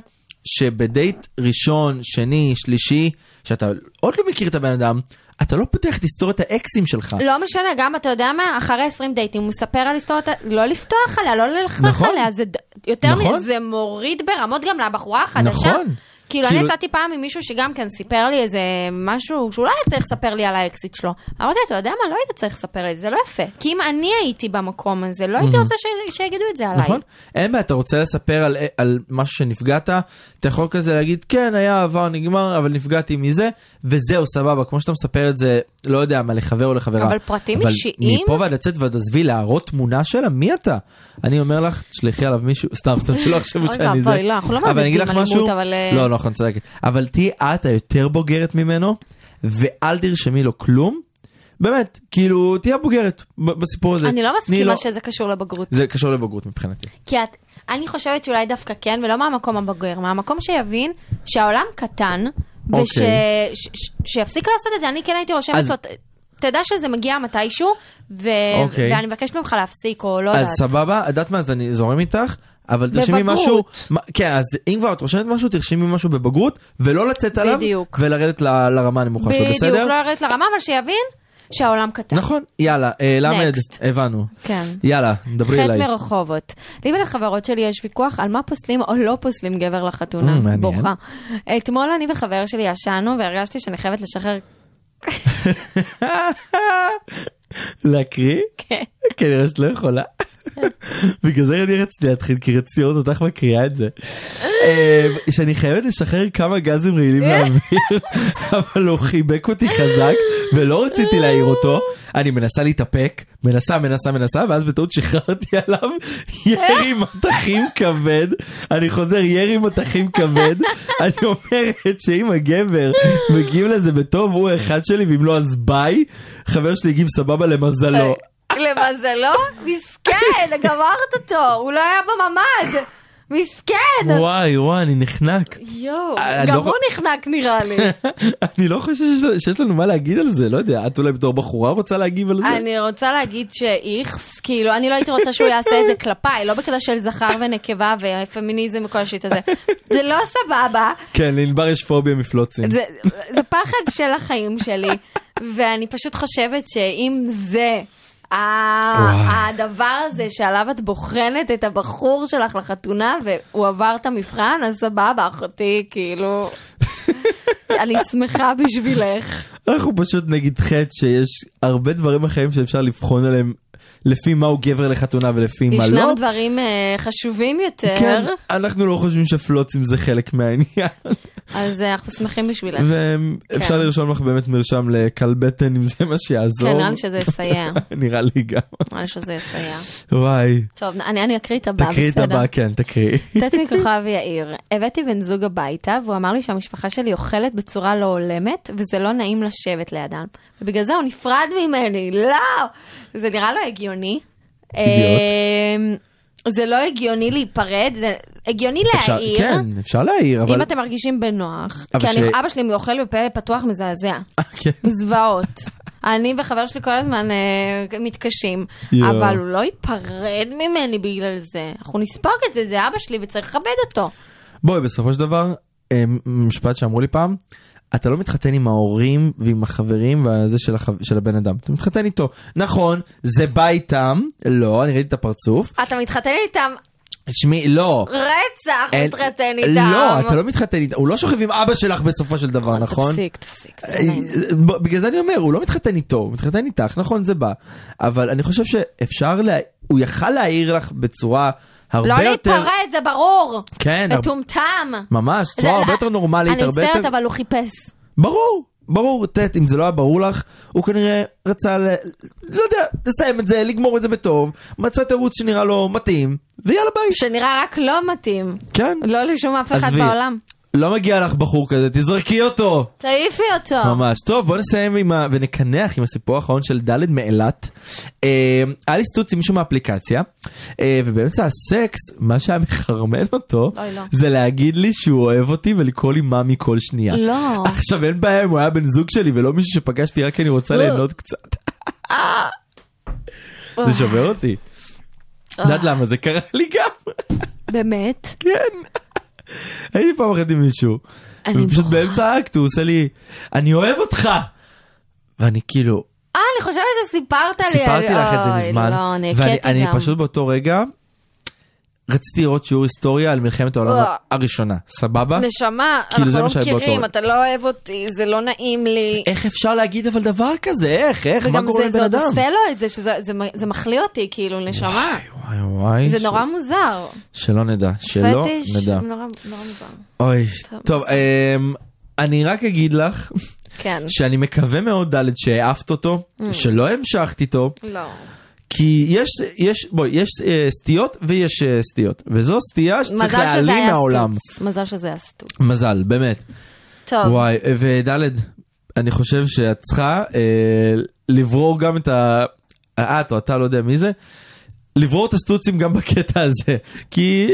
Speaker 5: שבדייט ראשון, שני, שלישי, שאתה עוד לא מכיר את הבן אדם, אתה לא פותח את היסטוריית האקסים שלך.
Speaker 4: לא משנה, גם אתה יודע מה, אחרי 20 דייטים הוא מספר על היסטוריות, לא לפתוח עליה, לא ללכלך
Speaker 5: נכון.
Speaker 4: עליה, זה ד- יותר
Speaker 5: נכון.
Speaker 4: מזה, זה מוריד ברמות גם לבחורה החדשה.
Speaker 5: נכון.
Speaker 4: כאילו, אני
Speaker 5: כאילו-
Speaker 4: יצאתי פעם עם מישהו שגם כן סיפר לי איזה משהו שהוא לא היה צריך לספר לי על האקזיט שלו. אמרתי, אתה יודע מה? לא היית צריך לספר לי, זה לא יפה. כי אם אני הייתי במקום הזה, לא הייתי רוצה ש- שיגידו את זה עליי.
Speaker 5: Mm. נכון? אין בעיה, אתה רוצה לספר על, על משהו שנפגעת, אתה יכול כזה להגיד, כן, היה עבר נגמר, אבל נפגעתי מזה, וזהו, סבבה, כמו שאתה מספר את זה, לא יודע מה, לחבר או לחברה.
Speaker 4: אבל פרטים אישיים?
Speaker 5: מפה ועד לצאת ועד עזבי, להראות תמונה שלה, מי אתה? אני אומר לך, תשלחי עליו מישהו, סתם, סתם, שלא יחשבו
Speaker 4: אוי
Speaker 5: שאני זה.
Speaker 4: ואבוי, לא, אנחנו לא
Speaker 5: אבל אני אגיד
Speaker 4: מעודדים
Speaker 5: לך
Speaker 4: אלימות,
Speaker 5: משהו-
Speaker 4: אבל, אה,
Speaker 5: לא, לא, נכון, צודקת. אבל תהיי את היותר בוגרת ממנו, ואל תרשמי לו כלום. באמת, כאילו, תהיה בוגרת ב- בסיפור הזה.
Speaker 4: אני לא
Speaker 5: תני
Speaker 4: מסכימה
Speaker 5: לו-
Speaker 4: שזה קשור לבגרות.
Speaker 5: זה קשור לבגרות מבחינתי.
Speaker 4: כי את, אני חושבת שאולי דווקא כן, ולא מהמקום הבוגר, מהמקום שיבין שהעולם קטן,
Speaker 5: אוקיי.
Speaker 4: וש... ש- ש- שיפסיק לעשות את זה, אני כן הייתי רושמת
Speaker 5: אז-
Speaker 4: לו, ת- תדע שזה מגיע מתישהו, ו...
Speaker 5: אוקיי.
Speaker 4: ואני מבקשת ממך להפסיק, או לא
Speaker 5: אז
Speaker 4: יודעת.
Speaker 5: סבבה, את יודעת מה, אז אני זורם איתך, אבל תרשמי
Speaker 4: בבגרות.
Speaker 5: משהו, מה- כן, אז אם כבר את רושמת משהו, תרשמי משהו בבגרות, ולא לצאת עליו,
Speaker 4: בדיוק.
Speaker 5: ולרדת ל- לרמה הנמוכה שלו,
Speaker 4: בדיוק,
Speaker 5: בסדר?
Speaker 4: לא לרדת לרמה, אבל שיבין שהעולם קטן.
Speaker 5: נכון, יאללה, אה, למד,
Speaker 4: Next.
Speaker 5: הבנו.
Speaker 4: כן.
Speaker 5: יאללה, דברי
Speaker 4: חטא
Speaker 5: אליי.
Speaker 4: מרחובות. לי ולחברות שלי יש ויכוח על מה פוסלים או לא פוסלים גבר לחתונה.
Speaker 5: Mm, מעניין.
Speaker 4: בוכה. אתמול אני וחבר שלי ישנו והרגשתי שאני חייבת לשחרר
Speaker 5: להקריא?
Speaker 4: כן.
Speaker 5: כנראה שאת לא יכולה. בגלל זה אני רציתי להתחיל, כי רציתי לראות אותך מקריאה את זה. אה, שאני חייבת לשחרר כמה גזים רעילים לאוויר, אבל הוא חיבק אותי חזק, ולא רציתי להעיר אותו. אני מנסה להתאפק, מנסה, מנסה, מנסה, ואז בטעות שחררתי עליו ירי מטחים כבד. אני חוזר, ירי מטחים כבד. אני אומרת שאם הגבר מגיב לזה בטוב, הוא אחד שלי, ואם לא אז ביי. חבר שלי הגיב סבבה למזלו.
Speaker 4: אה, למזלו, מסכן, גמרת אותו, הוא לא היה בממ"ד, מסכן.
Speaker 5: וואי וואי אני נחנק
Speaker 4: יואו,
Speaker 5: אה,
Speaker 4: גם
Speaker 5: לא-
Speaker 4: הוא נחנק נראה לי.
Speaker 5: אני לא חושב שיש- שיש לנו מה להגיד על זה לא יודע את אולי בתור בחורה רוצה להגיב על זה
Speaker 4: אני רוצה להגיד שאיכס, כאילו, אני לא הייתי רוצה שהוא יעשה את זה כלפיי, לא בקטע של זכר ונקבה ופמיניזם וכל השיט הזה. זה לא סבבה,
Speaker 5: כן לענבר יש פוביה מפלוצים
Speaker 4: זה, זה פחד של החיים שלי, ואני פשוט חושבת שאם זה... ה- הדבר הזה שעליו את בוחנת את הבחור שלך לחתונה והוא עבר את המבחן, אז סבבה אחותי, כאילו, אני שמחה בשבילך.
Speaker 5: אנחנו פשוט נגיד חטא שיש הרבה דברים אחרים שאפשר לבחון עליהם לפי מה הוא גבר לחתונה ולפי מה
Speaker 4: ישנם
Speaker 5: לא.
Speaker 4: דברים אה, חשובים יותר,
Speaker 5: כן, אנחנו לא חושבים שפלוצים זה חלק מהעניין
Speaker 4: אז אה, אנחנו שמחים בשבילך.
Speaker 5: ואפשר לרשום לך באמת מרשם לקל בטן אם זה מה שיעזור.
Speaker 4: כן, נראה לי שזה יסייע.
Speaker 5: נראה לי גם.
Speaker 4: נראה לי שזה יסייע.
Speaker 5: וואי.
Speaker 4: טוב, אני אני אקריא את הבא,
Speaker 5: תקריאי את
Speaker 4: בסדר?
Speaker 5: הבא, כן, תקריאי.
Speaker 4: טטמי כוכב יאיר, הבאתי בן זוג הביתה והוא אמר לי שהמשפחה שלי אוכלת בצורה לא הולמת וזה לא נעים לשבת לידם. ובגלל זה הוא נפרד ממני, לא! זה נראה לא הגיוני. אמ, זה לא הגיוני להיפרד, זה הגיוני
Speaker 5: אפשר-
Speaker 4: להעיר.
Speaker 5: כן, אפשר להעיר, אבל...
Speaker 4: אם אתם מרגישים בנוח,
Speaker 5: אבל
Speaker 4: כי אני,
Speaker 5: ש-
Speaker 4: אבא שלי אוכל בפה פתוח מזעזע,
Speaker 5: כן.
Speaker 4: זוועות. אני וחבר שלי כל הזמן אה, מתקשים,
Speaker 5: יואו.
Speaker 4: אבל הוא לא ייפרד ממני בגלל זה. אנחנו נספוג את זה, זה אבא שלי וצריך לכבד אותו.
Speaker 5: בואי, בסופו של דבר, אה, משפט שאמרו לי פעם, אתה לא מתחתן עם ההורים ועם החברים והזה של, החו... של הבן אדם, אתה מתחתן איתו. נכון, זה בא איתם, לא, אני ראיתי את הפרצוף.
Speaker 4: אתה מתחתן איתם
Speaker 5: תשמעי, לא.
Speaker 4: רצח,
Speaker 5: אין-
Speaker 4: מתחתן איתם.
Speaker 5: לא, אתה לא מתחתן איתם, הוא לא שוכב עם אבא שלך בסופו של דבר, נכון?
Speaker 4: תפסיק, תפסיק. זה לא
Speaker 5: אה,
Speaker 4: נעים.
Speaker 5: ב- בגלל זה אני אומר, הוא לא מתחתן איתו, הוא מתחתן איתך, נכון, זה בא. אבל אני חושב שאפשר, לה... הוא יכל להעיר לך בצורה הרבה
Speaker 4: לא
Speaker 5: יותר...
Speaker 4: להתפרד, זה ברור.
Speaker 5: כן, הרבה-
Speaker 4: מטומטם.
Speaker 5: ממש, צורה
Speaker 4: זה-
Speaker 5: הרבה יותר נורמלית,
Speaker 4: אני
Speaker 5: הרבה יותר...
Speaker 4: מצטערת, אבל הוא חיפש.
Speaker 5: ברור, ברור, טט, אם זה לא היה ברור לך, הוא כנראה רצה, ל... לא יודע, לסיים את זה, לגמור את זה בטוב, מצא תירוץ שנראה לו מתאים, ויאללה ביי.
Speaker 4: שנראה רק לא מתאים.
Speaker 5: כן,
Speaker 4: לא לשום אף אחד
Speaker 5: עזבי.
Speaker 4: בעולם.
Speaker 5: לא מגיע לך בחור כזה, תזרקי אותו.
Speaker 4: תעיפי אותו.
Speaker 5: ממש. טוב, בוא נסיים עם ה... ונקנח עם הסיפור האחרון של ד' מאילת. אה, היה לי סטוץ עם מישהו מהאפליקציה, אה, ובאמצע הסקס, מה שהיה מחרמן אותו,
Speaker 4: אוי, לא.
Speaker 5: זה להגיד לי שהוא אוהב אותי ולקרוא לי מאמי כל שנייה.
Speaker 4: לא.
Speaker 5: עכשיו אין בעיה אם הוא היה בן זוג שלי ולא מישהו שפגשתי רק כי אני רוצה
Speaker 4: לא.
Speaker 5: ליהנות קצת.
Speaker 4: אה.
Speaker 5: זה שובר אותי. את יודעת למה זה קרה לי גם?
Speaker 4: באמת?
Speaker 5: הייתי פעם אחת עם מישהו.
Speaker 4: כן. אני
Speaker 5: ופשוט
Speaker 4: בוכה.
Speaker 5: באמצע האקט הוא עושה לי, אני אוהב אותך! ואני כאילו,
Speaker 4: אה, אני חושבת שסיפרת לי.
Speaker 5: סיפרתי
Speaker 4: על-
Speaker 5: לך את זה
Speaker 4: אוי,
Speaker 5: מזמן.
Speaker 4: לא, אני
Speaker 5: ואני
Speaker 4: הכיתי
Speaker 5: אני
Speaker 4: גם.
Speaker 5: פשוט באותו רגע רציתי לראות שיעור היסטוריה על מלחמת העולם
Speaker 4: וואו.
Speaker 5: הראשונה, סבבה?
Speaker 4: נשמה,
Speaker 5: כאילו, זה
Speaker 4: אנחנו
Speaker 5: מה
Speaker 4: לא
Speaker 5: שהיה באותו
Speaker 4: מכירים,
Speaker 5: רגע.
Speaker 4: אתה לא אוהב אותי, זה לא נעים לי.
Speaker 5: איך אפשר להגיד אבל דבר כזה? איך? איך? מה
Speaker 4: וגם
Speaker 5: קורה
Speaker 4: זה- זה
Speaker 5: לבן
Speaker 4: עוד
Speaker 5: אדם?
Speaker 4: עושה לו את זה, שזה- זה מ- זה מחליא אותי, כאילו, נשמה.
Speaker 5: וואי וואי.
Speaker 4: זה
Speaker 5: ש-
Speaker 4: נורא מוזר.
Speaker 5: שלא נדע, שלא
Speaker 4: פטיש,
Speaker 5: לא נדע.
Speaker 4: נורא נורא מוזר.
Speaker 5: אוי,
Speaker 4: טוב,
Speaker 5: טוב, אמ, אני רק אגיד לך
Speaker 4: כן.
Speaker 5: שאני מקווה מאוד ד' שהעפת אותו,
Speaker 4: Mm.
Speaker 5: שלא המשכת איתו,
Speaker 4: לא.
Speaker 5: כי יש, יש, בואי, יש אה, סטיות ויש אה, סטיות, וזו סטייה שצריך
Speaker 4: מזל שזה
Speaker 5: להעלים
Speaker 4: היה
Speaker 5: מהעולם.
Speaker 4: סטוץ. מזל שזה היה סטוץ.
Speaker 5: מזל, באמת.
Speaker 4: טוב.
Speaker 5: וואי, אה, וד', אני חושב שאת צריכה אה, לברור גם את ה... אה, את או אתה, לא יודע מי זה, לברור את הסטוצים גם בקטע הזה, כי...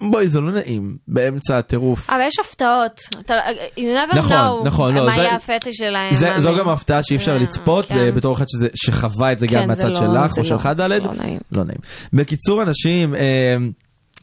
Speaker 5: בואי, זה לא נעים, באמצע הטירוף.
Speaker 4: אבל יש הפתעות. אתה, you never
Speaker 5: נכון,
Speaker 4: know
Speaker 5: נכון, לא,
Speaker 4: מה
Speaker 5: זה-
Speaker 4: יהיה הפטיש שלהם.
Speaker 5: זה,
Speaker 4: מה-
Speaker 5: זו גם הפתעה שאי אפשר
Speaker 4: אה,
Speaker 5: לצפות,
Speaker 4: כן.
Speaker 5: אה, בתור אחד שזה, שחווה את זה
Speaker 4: כן,
Speaker 5: גם
Speaker 4: זה
Speaker 5: מהצד
Speaker 4: לא-
Speaker 5: שלך
Speaker 4: זה
Speaker 5: או שלך
Speaker 4: לא-
Speaker 5: ד',
Speaker 4: לא נעים.
Speaker 5: לא נעים. בקיצור אנשים, אה,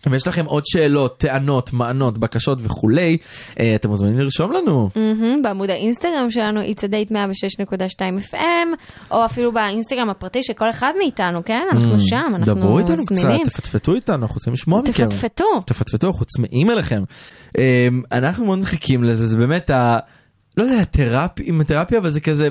Speaker 5: אם יש לכם עוד שאלות, טענות, מענות, בקשות וכולי, אה, אתם מוזמנים לרשום לנו.
Speaker 4: מהמם, בעמוד האינסטגרם שלנו, it's a date 106.2 FM, או אפילו באינסטגרם הפרטי של כל אחד מאיתנו, כן? אנחנו שם, אנחנו
Speaker 5: Mm, דברו איתנו קצת,
Speaker 4: זמינים.
Speaker 5: תפטפטו איתנו, אנחנו רוצים לשמוע מכם.
Speaker 4: תפטפטו.
Speaker 5: תפטפטו, אנחנו צמאים אליכם. אה, אנחנו מאוד מחכים לזה, זה באמת ה... לא יודע, התרפיה, עם התרפיה, אבל זה כזה...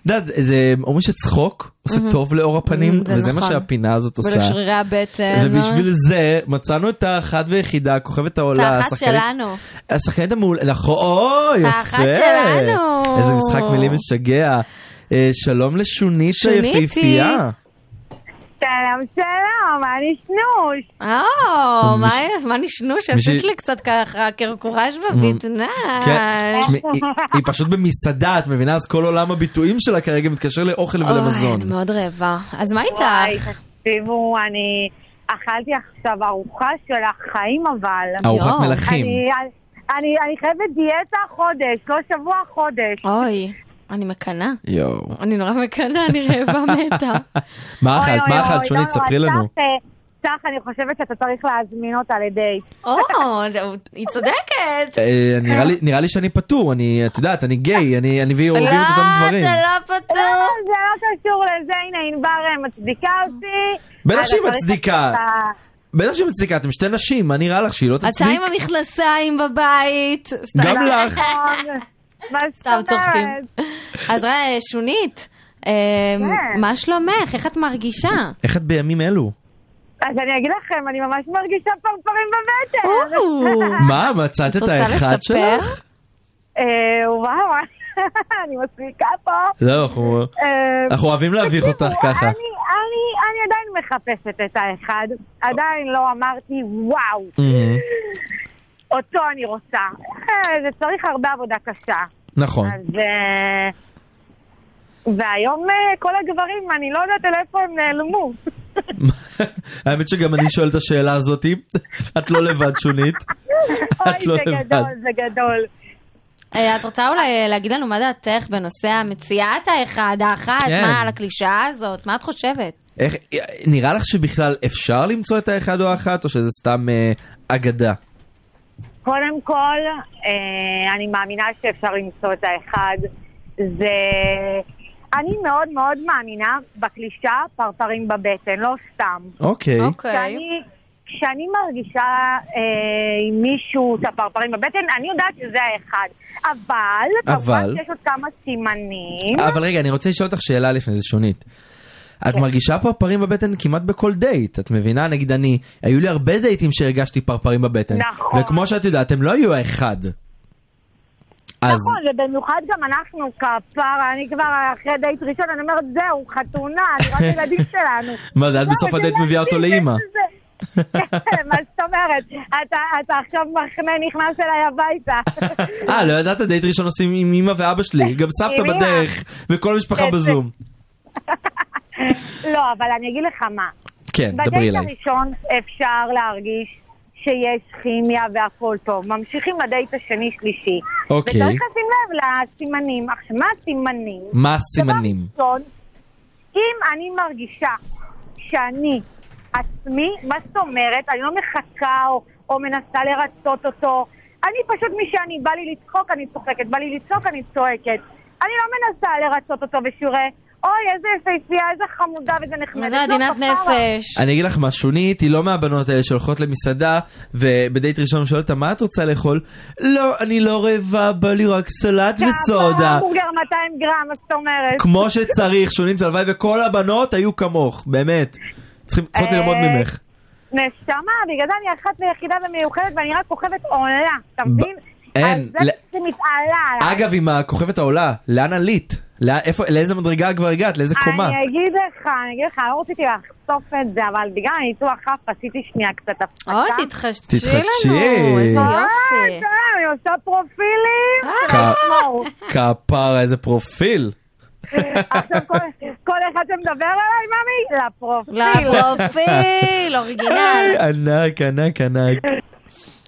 Speaker 5: את יודעת, זה אומרים שצחוק עושה טוב לאור הפנים,
Speaker 4: Mm, זה
Speaker 5: וזה מה
Speaker 4: נכון.
Speaker 5: שהפינה הזאת עושה.
Speaker 4: ולשרירי הבטן. אה,
Speaker 5: ובשביל זה מצאנו את האחת והיחידה, הכוכבת העולה,
Speaker 4: את האחת שלנו.
Speaker 5: השחקנית המעולה, נכון, או, יפה.
Speaker 4: האחת שלנו.
Speaker 5: איזה משחק מילים משגע. אה, שלום לשונית
Speaker 4: שוניתי.
Speaker 5: היפהפייה.
Speaker 6: שלום, שלום, מה נשנוש?
Speaker 4: או, מה-
Speaker 5: מש-
Speaker 4: מה נשנו
Speaker 5: בשביל-
Speaker 4: שעשית לי קצת ככה אה, קרקורש בביטנה.
Speaker 5: כן, תשמעי, היא- היא פשוט במסעדה, את מבינה? אז כל עולם הביטויים שלה כרגע מתקשר לאוכל
Speaker 4: אה. אוי, אני
Speaker 5: ולמזון.
Speaker 4: מאוד רעבה. אז מה
Speaker 6: וואי,
Speaker 4: איתך?
Speaker 6: תקשיבו, אני אכלתי עכשיו ארוחה של החיים, אבל...
Speaker 5: ארוחת
Speaker 4: יואו.
Speaker 5: מלכים.
Speaker 6: אני, אני, אני חייבת דיאטה חודש, לא שבוע חודש.
Speaker 4: אוי, אני מקנאה.
Speaker 5: יואו.
Speaker 4: אני נורא מקנאה, אני רעבה מתה.
Speaker 5: מה אכלת?
Speaker 6: אוי,
Speaker 5: אוקיי, מה
Speaker 6: אוי,
Speaker 5: אכלת?
Speaker 6: אוי,
Speaker 5: שונית,
Speaker 6: לא,
Speaker 5: ספרי לנו.
Speaker 6: צח, אה, צח, אני חושבת שאתה צריך להזמין אותה לדייט.
Speaker 4: או, זהו, היא צודקת.
Speaker 5: אה, נראה לי- נראה לי שאני פטור, אני, את יודעת, אני גיי, אני אני והיא
Speaker 4: לא,
Speaker 5: אוהבים את אותם דברים.
Speaker 4: זה לא פתור.
Speaker 6: זה לא קשור לזה, הנה ענבר אה, מצדיקה אותי.
Speaker 5: בטח
Speaker 6: אז
Speaker 5: שהיא
Speaker 6: אתה צריך
Speaker 5: מצדיקה.
Speaker 6: אותה.
Speaker 5: בטח שהיא מצדיקה, אתם שתי נשים, מה נראה לך שהיא לא
Speaker 4: אתה
Speaker 5: תצדיק?
Speaker 4: עם המכנסיים בבית. סתם.
Speaker 5: גם לך.
Speaker 6: מה זאת
Speaker 4: סתם צוחקים.
Speaker 6: אומרת?
Speaker 4: אז ראה, שונית, אה,
Speaker 6: כן.
Speaker 4: מה שלומך? איך את מרגישה?
Speaker 5: איך את בימים אלו?
Speaker 6: אז אני אגיד לכם, אני ממש מרגישה פרפרים בבטן.
Speaker 4: אוו.
Speaker 5: מה, מצאת את האחד
Speaker 4: לספר?
Speaker 5: שלך?
Speaker 6: אה, וואו, אני מצחיקה פה.
Speaker 5: לא, אנחנו-
Speaker 6: אה,
Speaker 5: אנחנו אוהבים להביך
Speaker 6: תקשיבו,
Speaker 5: אותך ככה.
Speaker 6: אני, אני, אני עדיין מחפשת את האחד, עדיין לא אמרתי וואו,
Speaker 5: אה,
Speaker 6: אותו אני רוצה. אה, זה צריך הרבה עבודה קשה.
Speaker 5: נכון.
Speaker 6: אז... אה, והיום אה, כל הגברים, אני לא יודעת על איפה הם נעלמו.
Speaker 5: האמת שגם אני שואל את השאלה הזאתי, את לא לבד שונית. את לא
Speaker 6: אוי, זה
Speaker 5: לבד.
Speaker 6: גדול, זה גדול.
Speaker 4: אה, את רוצה אולי אה, להגיד לנו מה דעתך בנושא המציאת האחד, האחת,
Speaker 5: כן.
Speaker 4: מה, על הקלישאה הזאת? מה את חושבת?
Speaker 5: איך, נראה לך שבכלל אפשר למצוא את האחד או האחת, או שזה סתם אה, אגדה?
Speaker 6: קודם כל, אה, אני מאמינה שאפשר למצוא את האחד. זה... אני מאוד מאוד מאמינה בקלישאה פרפרים בבטן, לא סתם.
Speaker 5: אוקיי.
Speaker 6: כשאני, כשאני מרגישה אה, עם מישהו את הפרפרים בבטן, אני יודעת שזה האחד. אבל,
Speaker 5: אבל?
Speaker 6: כמובן שיש עוד כמה סימנים.
Speaker 5: אבל רגע, אני רוצה לשאול אותך שאלה לפני זה, שונית. את
Speaker 6: כן.
Speaker 5: מרגישה פרפרים בבטן כמעט בכל דייט, את מבינה? נגיד אני, היו לי הרבה דייטים שהרגשתי פרפרים בבטן.
Speaker 6: נכון.
Speaker 5: וכמו שאת יודעת, הם לא היו האחד. אז
Speaker 6: נכון, ובמיוחד גם אנחנו כפרה, אני כבר אחרי דייט ראשון, אני אומרת, זהו, חתונה, לראות ילדים שלנו.
Speaker 5: מה זה, את
Speaker 6: לא,
Speaker 5: בסוף הדייט
Speaker 6: וזה
Speaker 5: מביאה אותו
Speaker 6: להקשיב,
Speaker 5: לאימא.
Speaker 6: זה- כן, מה זאת אומרת? אתה- אתה עכשיו מחנה נכנס אליי הביתה.
Speaker 5: אה, לא ידעת, דייט ראשון עושים עם אמא ואבא שלי, גם סבתא
Speaker 6: עם אמא. כן,
Speaker 5: בדרך, וכל המשפחה
Speaker 6: יפה.
Speaker 5: בזום.
Speaker 6: לא, אבל אני אגיד לך מה.
Speaker 5: כן, דברי
Speaker 6: בדייט
Speaker 5: אליי.
Speaker 6: הראשון אפשר להרגיש שיש כימיה והכל טוב. ממשיכים לדייט השני שלישי.
Speaker 5: אוקיי.
Speaker 6: וצריך לשים לב לסימנים. עכשיו, מה הסימנים?
Speaker 5: מה הסימנים?
Speaker 6: דבר ראשון, אם אני מרגישה שאני עצמי, מה זאת אומרת? אני לא מחכה או, או מנסה לרצות אותו. אני פשוט מי שאני, בא לי לצחוק, אני צוחקת, בא לי לצעוק, אני צועקת. אני לא מנסה לרצות אותו בשיעורי אוי, איזה יפהפייה, איזה חמודה וזה נחמד. לא,
Speaker 4: זה עדינת נפש.
Speaker 5: אני אגיד לך מה, שונית היא לא מהבנות האלה שהולכות למסעדה ובדייט ראשון שואלת אותה מה את רוצה לאכול? לא, אני לא רעבה, בא לי רק סלט וסודה.
Speaker 6: המבורגר 200 גרם, מה זאת אומרת?
Speaker 5: כמו שצריך, שונית, הלוואי וכל הבנות היו כמוך, באמת. צריכים- צריכות ללמוד
Speaker 6: אה,
Speaker 5: ממך.
Speaker 6: נשמה, בגלל זה אני אחת ויחידה ומיוחדת ואני רק כוכבת עולה, אתה מבין?
Speaker 5: אין,
Speaker 6: אז
Speaker 5: ל- אה,
Speaker 6: זה שמתעלה עליי.
Speaker 5: אגב, עם הכוכבת העולה, לאן עלית? לא- איפה- לאיזה מדרגה כבר הגעת?
Speaker 6: אה,
Speaker 5: לאיזה קומה?
Speaker 6: אני אגיד לך, אני אגיד לך, לא רציתי לחשוף את זה, אבל בגלל הניתוח אף עשיתי שנייה קצת הפסקה.
Speaker 4: אוי, תתחדשי
Speaker 5: תתחדשי.
Speaker 4: לנו, איזה
Speaker 6: אה,
Speaker 4: יופי. אה.
Speaker 6: כן, אני עושה פרופילים.
Speaker 5: כ-
Speaker 6: תשמעו.
Speaker 5: כפרה, איזה פרופיל.
Speaker 6: אה. עכשיו כל- כל אחד שמדבר עליי, ממי, לפרופיל.
Speaker 4: לא,
Speaker 6: אוקיי.
Speaker 4: לפרופיל, אורגינל.
Speaker 5: היי, ענק, ענק, ענק.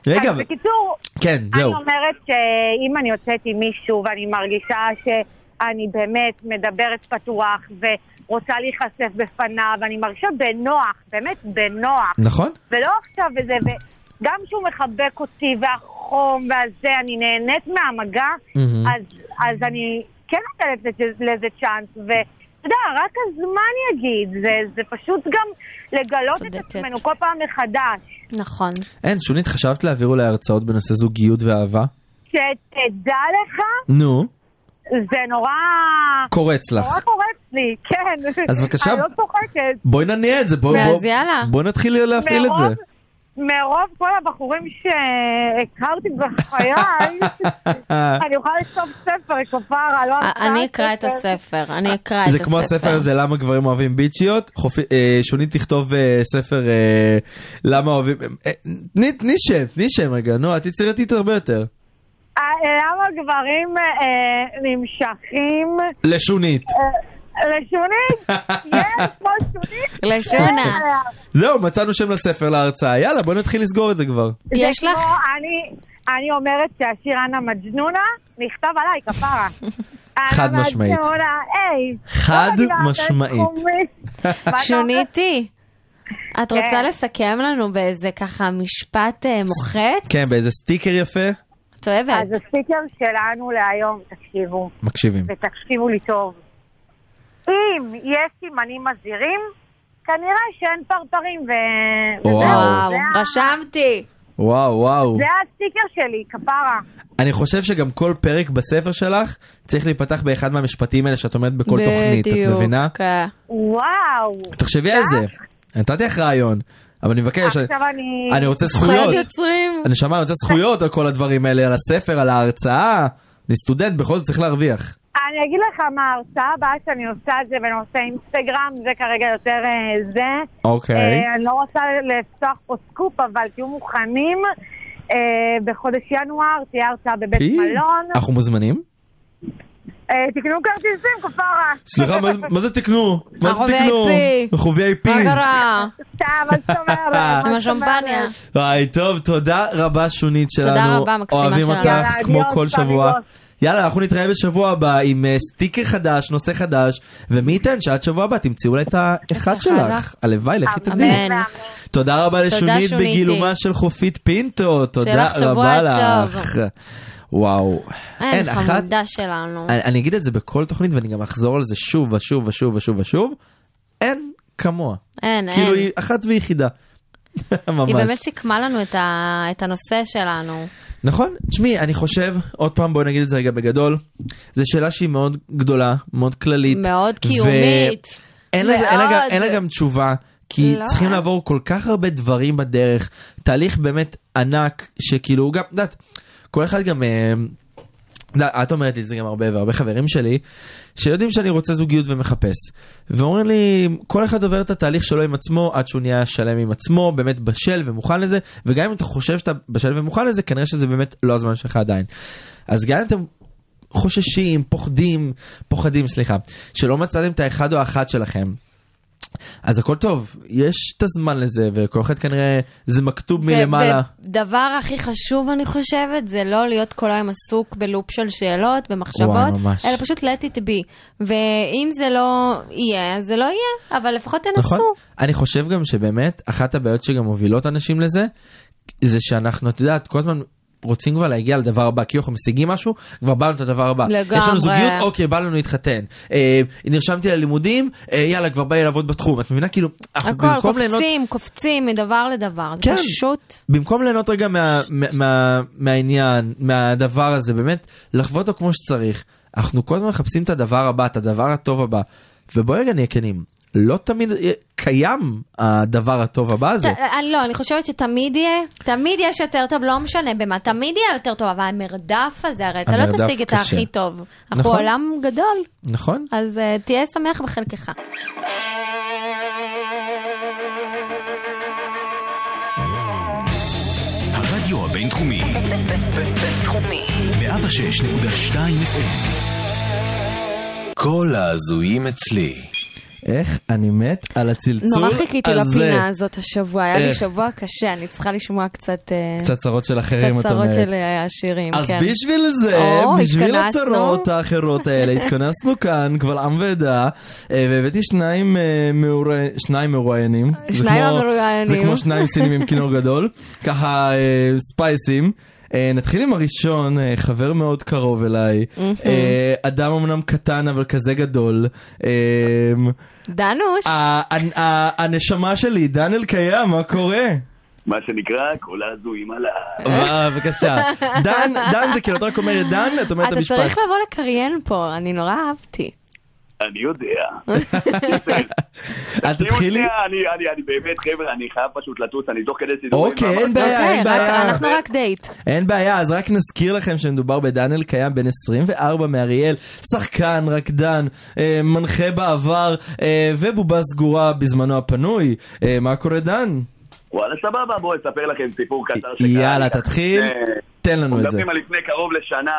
Speaker 5: רגע,
Speaker 6: אז בקיצור,
Speaker 5: כן, זהו.
Speaker 6: אני אומרת שאם אני יוצאת עם מישהו ואני מרגישה שאני באמת מדברת פתוח ורוצה להיחשף בפניו, אני מרגישה בנוח, באמת בנוח.
Speaker 5: נכון?
Speaker 6: ולא עכשיו וזה, וגם כשהוא מחבק אותי והחום והזה, אני נהנית מהמגע,
Speaker 5: מהמם.
Speaker 6: אז, אז אני כן נותנת לזה- לזה צ'אנס, ואתה יודע, רק הזמן יגיד, זה, זה פשוט גם לגלות את
Speaker 4: צודקת.
Speaker 6: עצמנו כל פעם מחדש.
Speaker 4: נכון.
Speaker 5: אין, שונית, חשבת להעביר אולי הרצאות בנושא זוגיות ואהבה?
Speaker 6: שתדע לך,
Speaker 5: נו,
Speaker 6: זה נורא...
Speaker 5: קורץ לך.
Speaker 6: נורא קורץ לי, כן.
Speaker 5: אז בבקשה.
Speaker 6: אני לא צוחקת.
Speaker 5: בואי נניע את זה, בואי
Speaker 4: אז
Speaker 5: בואי-
Speaker 4: יאללה.
Speaker 5: בואי נתחיל להפעיל את
Speaker 6: מרוב-
Speaker 5: זה.
Speaker 6: מרוב כל הבחורים שהכרתי בחיי, אני יכולה לכתוב ספר, כפרה, לא
Speaker 4: א-
Speaker 6: הרצאה,
Speaker 4: אה, אני אקרא את
Speaker 6: ספר.
Speaker 4: הספר, אני אקרא את הספר.
Speaker 5: זה כמו הספר הזה, למה גברים אוהבים ביצ'יות, חופי- אה, שונית תכתוב אה, ספר אה, למה אוהבים, אה, תני- תני שם, תני שם רגע, נו, את יצירתית הרבה יותר.
Speaker 6: אה, למה גברים אה, נמשכים
Speaker 5: לשונית.
Speaker 6: אה, לשונית? יש פה שונית?
Speaker 4: לשונה.
Speaker 5: זהו, מצאנו שם לספר להרצאה, יאללה, בואי נתחיל לסגור את זה כבר.
Speaker 6: זה
Speaker 4: יש
Speaker 6: כמו,
Speaker 4: לך?
Speaker 6: אני- אני אומרת שהשיר אנה מג'נונה נכתב עליי, כפרה. אנה
Speaker 5: חד משמעית.
Speaker 6: מג'נונה, היי.
Speaker 5: חד
Speaker 6: לא מבינה, זה
Speaker 5: משמעית.
Speaker 6: תחומית. מה אתה אומר?
Speaker 4: שוניתי, את רוצה
Speaker 6: כן.
Speaker 4: לסכם לנו באיזה ככה משפט אה, מוחץ?
Speaker 5: כן, באיזה סטיקר יפה,
Speaker 4: את אוהבת.
Speaker 6: אז הסטיקר שלנו להיום, תקשיבו,
Speaker 5: מקשיבים.
Speaker 6: ותקשיבו לי טוב. אם יש סימנים מזהירים, כנראה שאין פרפרים ו...
Speaker 5: וואו.
Speaker 6: וזהו,
Speaker 4: וואו,
Speaker 6: זה ה-
Speaker 4: רשמתי.
Speaker 5: וואו, וואו.
Speaker 6: זה הסטיקר שלי, כפרה.
Speaker 5: אני חושב שגם כל פרק בספר שלך צריך להיפתח באחד מהמשפטים האלה שאת אומרת בכל תוכנית, את
Speaker 4: בדיוק,
Speaker 5: מבינה?
Speaker 4: כן.
Speaker 6: וואו.
Speaker 5: תחשבי על זה.
Speaker 4: אה?
Speaker 5: נתתי לך רעיון, אבל אני מבקש,
Speaker 6: עכשיו אני...
Speaker 5: אני רוצה
Speaker 4: זכויות
Speaker 5: זכויות.
Speaker 4: יוצרים.
Speaker 5: הנשמה, אני רוצה זכויות על כל הדברים האלה, על הספר, על ההרצאה. אני סטודנט, בכל זאת צריך להרוויח.
Speaker 6: אני אגיד לך מה ההרצאה הבאה שאני עושה את זה בנושא אינסטגרם, זה כרגע יותר אה, זה.
Speaker 5: אוקיי.
Speaker 6: אה, אני לא רוצה לפתוח פה סקופ, אבל תהיו מוכנים. אה, בחודש ינואר תהיה הרצאה בבית
Speaker 5: פי,
Speaker 6: מלון.
Speaker 5: אנחנו מוזמנים?
Speaker 6: אה, תקנו כרטיסים, כפרה.
Speaker 5: סליחה, מה זה- מה זה תקנו? מה
Speaker 4: אנחנו
Speaker 5: זה תקנו?
Speaker 4: VIP.
Speaker 5: אנחנו VIP.
Speaker 4: מה קרה?
Speaker 6: סתם, מה זאת אומרת? מה
Speaker 4: עם
Speaker 6: זאת
Speaker 4: השמפניה.
Speaker 6: אומרת?
Speaker 5: וואי, טוב, תודה רבה שונית שלנו.
Speaker 4: תודה רבה, מקסימה
Speaker 5: אוהבים
Speaker 4: שלנו.
Speaker 5: אותך
Speaker 6: יאללה,
Speaker 5: כמו
Speaker 6: אדיוס,
Speaker 5: כל שבוע.
Speaker 6: אמיגוס.
Speaker 5: יאללה, אנחנו נתראה בשבוע הבא עם אה, סטיקר חדש, נושא חדש, ומי ייתן שעד שבוע הבא תמצאו אולי את האחד
Speaker 4: אחד
Speaker 5: שלך.
Speaker 4: לך.
Speaker 5: הלוואי, לכי
Speaker 6: אמן.
Speaker 5: תדעי.
Speaker 4: אמן.
Speaker 5: תודה רבה לשונית
Speaker 4: שוניתי.
Speaker 5: בגילומה של חופית פינטו, תודה
Speaker 4: לך שבוע
Speaker 5: רבה
Speaker 4: טוב.
Speaker 5: לך. וואו.
Speaker 4: אין, חמודה שלנו.
Speaker 5: אני, אני אגיד את זה בכל תוכנית ואני גם אחזור על זה שוב ושוב ושוב ושוב ושוב. אין כמוה.
Speaker 4: אין,
Speaker 5: כאילו
Speaker 4: אין.
Speaker 5: היא אחת ויחידה. ממש.
Speaker 4: היא באמת סיכמה לנו את ה- את הנושא שלנו.
Speaker 5: נכון, תשמעי, אני חושב, עוד פעם בואי נגיד את זה רגע בגדול, זו שאלה שהיא מאוד גדולה, מאוד כללית.
Speaker 4: מאוד קיומית.
Speaker 5: ואין לה- אין לה גם- אין לה
Speaker 4: מאוד.
Speaker 5: גם תשובה, כי
Speaker 4: לא.
Speaker 5: צריכים לעבור כל כך הרבה דברים בדרך, תהליך באמת ענק, שכאילו, הוא גם, את יודעת, כל אחד גם... אה, לא, את אומרת לי את זה גם הרבה, והרבה חברים שלי, שיודעים שאני רוצה זוגיות ומחפש. ואומרים לי, כל אחד עובר את התהליך שלו עם עצמו, עד שהוא נהיה שלם עם עצמו, באמת בשל ומוכן לזה, וגם אם אתה חושב שאתה בשל ומוכן לזה, כנראה שזה באמת לא הזמן שלך עדיין. אז גם אם אתם חוששים, פוחדים, פוחדים, סליחה, שלא מצאתם את האחד או האחת שלכם, אז הכל טוב, יש את הזמן לזה, וכל אחד כנראה, זה מכתוב מלמעלה.
Speaker 4: ודבר הכי חשוב, אני חושבת, זה לא להיות כל היום עסוק בלופ של שאלות
Speaker 5: וואי,
Speaker 4: ומחשבות,
Speaker 5: ממש.
Speaker 4: אלא פשוט let it be. ואם זה לא יהיה, אז זה לא יהיה, אבל לפחות
Speaker 5: נכון?
Speaker 4: תנסו.
Speaker 5: אני חושב גם שבאמת, אחת הבעיות שגם מובילות אנשים לזה, זה שאנחנו, את יודעת, כל הזמן רוצים כבר להגיע לדבר הבא, כי אנחנו משיגים משהו, כבר בא לנו את הדבר הבא.
Speaker 4: לגמרי.
Speaker 5: יש לנו זוגיות, אוקיי, בא לנו להתחתן. אה, נרשמתי ללימודים, אה, יאללה, כבר בא לי לעבוד בתחום. את מבינה? כאילו, אנחנו
Speaker 4: הכל,
Speaker 5: במקום
Speaker 4: קופצים,
Speaker 5: ליהנות...
Speaker 4: קופצים מדבר לדבר, זה
Speaker 5: כן.
Speaker 4: פשוט...
Speaker 5: במקום ליהנות רגע מה, מה, מה, מהעניין, מהדבר הזה, באמת, לחוות אותו כמו שצריך. אנחנו כל הזמן מחפשים את הדבר הבא, את הדבר הטוב הבא. ובואי רגע נהיה כנים, לא תמיד אה, קיים הדבר הטוב הבא הזה.
Speaker 4: ת- אני לא, אני חושבת שתמיד יהיה, תמיד יש יותר טוב, לא משנה במה, תמיד יהיה יותר טוב, אבל המרדף הזה, הרי אתה לא
Speaker 5: המרדף
Speaker 4: תשיג את
Speaker 5: קשה.
Speaker 4: הכי טוב. אנחנו
Speaker 5: נכון.
Speaker 4: עולם גדול,
Speaker 5: נכון?
Speaker 4: אז אה, תהיה שמח בחלקך.
Speaker 1: הרדיו הבינתחומי,
Speaker 2: בינתחומי.
Speaker 1: 106.2 FM.
Speaker 7: כל ההזויים אצלי.
Speaker 5: איך אני מת על הצלצול
Speaker 4: נורא
Speaker 5: הזה.
Speaker 4: חיכיתי לפינה הזאת השבוע, היה לי
Speaker 5: איך?
Speaker 4: שבוע קשה, אני צריכה לשמוע קצת... אה,
Speaker 5: קצת צרות של אחרים,
Speaker 4: קצת
Speaker 5: את
Speaker 4: צרות
Speaker 5: אומרת.
Speaker 4: של אה, השירים,
Speaker 5: אז
Speaker 4: כן.
Speaker 5: בשביל זה,
Speaker 4: או,
Speaker 5: בשביל
Speaker 4: התכנסנו.
Speaker 5: הצרות האחרות האלה, התכנסנו כאן, קבל עם ועדה, אה, והבאתי שניים אה, מעורה- שניים מרואיינים. זה
Speaker 4: שניים
Speaker 5: כמו-
Speaker 4: המרואיינים.
Speaker 5: זה כמו שניים סינים עם כינור גדול, ככה אה, ספייסים. אה, נתחיל עם הראשון, אה, חבר מאוד קרוב אליי, אה, אדם אמנם קטן אבל כזה גדול, אה,
Speaker 4: דנוש,
Speaker 5: ה- ה- ה- הנשמה שלי, דן אלקיים, מה קורה?
Speaker 8: מה שנקרא, כל ההזויים עליי.
Speaker 5: אה, בבקשה. דן, דן זה כאילו, את רק אומרת דן, את אומרת את
Speaker 4: אתה
Speaker 5: המשפט.
Speaker 4: צריך לבוא לקריין פה, אני נורא אהבתי.
Speaker 8: אני יודע.
Speaker 5: אל אה, תתחילי.
Speaker 8: שנייה, אני, אני, אני באמת, חבר'ה, אני חייב פשוט לטוס, אני תוך כדי סידורים.
Speaker 5: אוקיי,
Speaker 8: ואמרתי,
Speaker 5: אין בעיה,
Speaker 4: אוקיי,
Speaker 5: אין
Speaker 4: רק-
Speaker 5: בעיה. כן.
Speaker 4: אנחנו רק דייט.
Speaker 5: אין בעיה, אז רק נזכיר לכם שמדובר בדניאל קיים, בן 24 מאריאל, שחקן, רקדן, אה, מנחה בעבר, אה, ובובה סגורה בזמנו הפנוי. אה, מה קורה, דן?
Speaker 8: וואלה, סבבה, בואו אספר לכם סיפור קצר שקרה.
Speaker 5: יאללה,
Speaker 8: לי ככה
Speaker 5: תתחיל,
Speaker 8: לפני-
Speaker 5: תן לנו
Speaker 8: אנחנו
Speaker 5: את זה.
Speaker 8: אה, מדברים על לפני קרוב לשנה,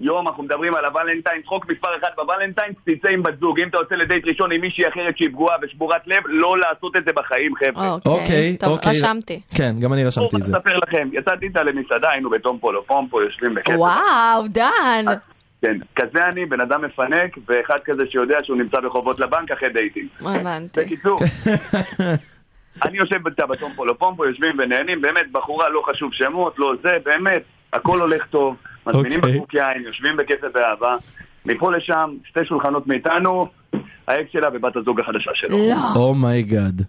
Speaker 8: יום אנחנו מדברים על הוולנטיין, חוק מספר אחת בוולנטיין, תצא עם בת זוג. אם אתה יוצא לדייט ראשון עם מישהי אחרת שהיא פגועה ושבורת לב, לא לעשות את זה בחיים, חבר'ה.
Speaker 5: אוקיי,
Speaker 4: טוב,
Speaker 5: אוקיי.
Speaker 4: רשמתי.
Speaker 5: כן, גם אני
Speaker 8: בואו,
Speaker 5: רשמתי את זה.
Speaker 8: אספר לכם, יצאתי איתה למסעדה, היינו בתום פולו, פומפו, יושבים בכסף.
Speaker 4: וואו, דן.
Speaker 8: כן, כזה אני, בן אדם מפנק, ואחד כזה שיודע שהוא נמצא בחובות לבנק אחרי דייטים.
Speaker 4: הבנתי.
Speaker 8: בקיצור, אני יושב איתה בתום פולופומפו, יושבים ונהנים, באמת, בחורה, לא חשוב שמות, לא זה, באמת, הכל הולך טוב, מזמינים
Speaker 5: אוקיי.
Speaker 8: בקבוק יין, יושבים בכסף באהבה, מפה לשם, שתי שולחנות מאיתנו, האקס שלה ובת הזוג החדשה שלו.
Speaker 4: לא.
Speaker 5: אומייגאד.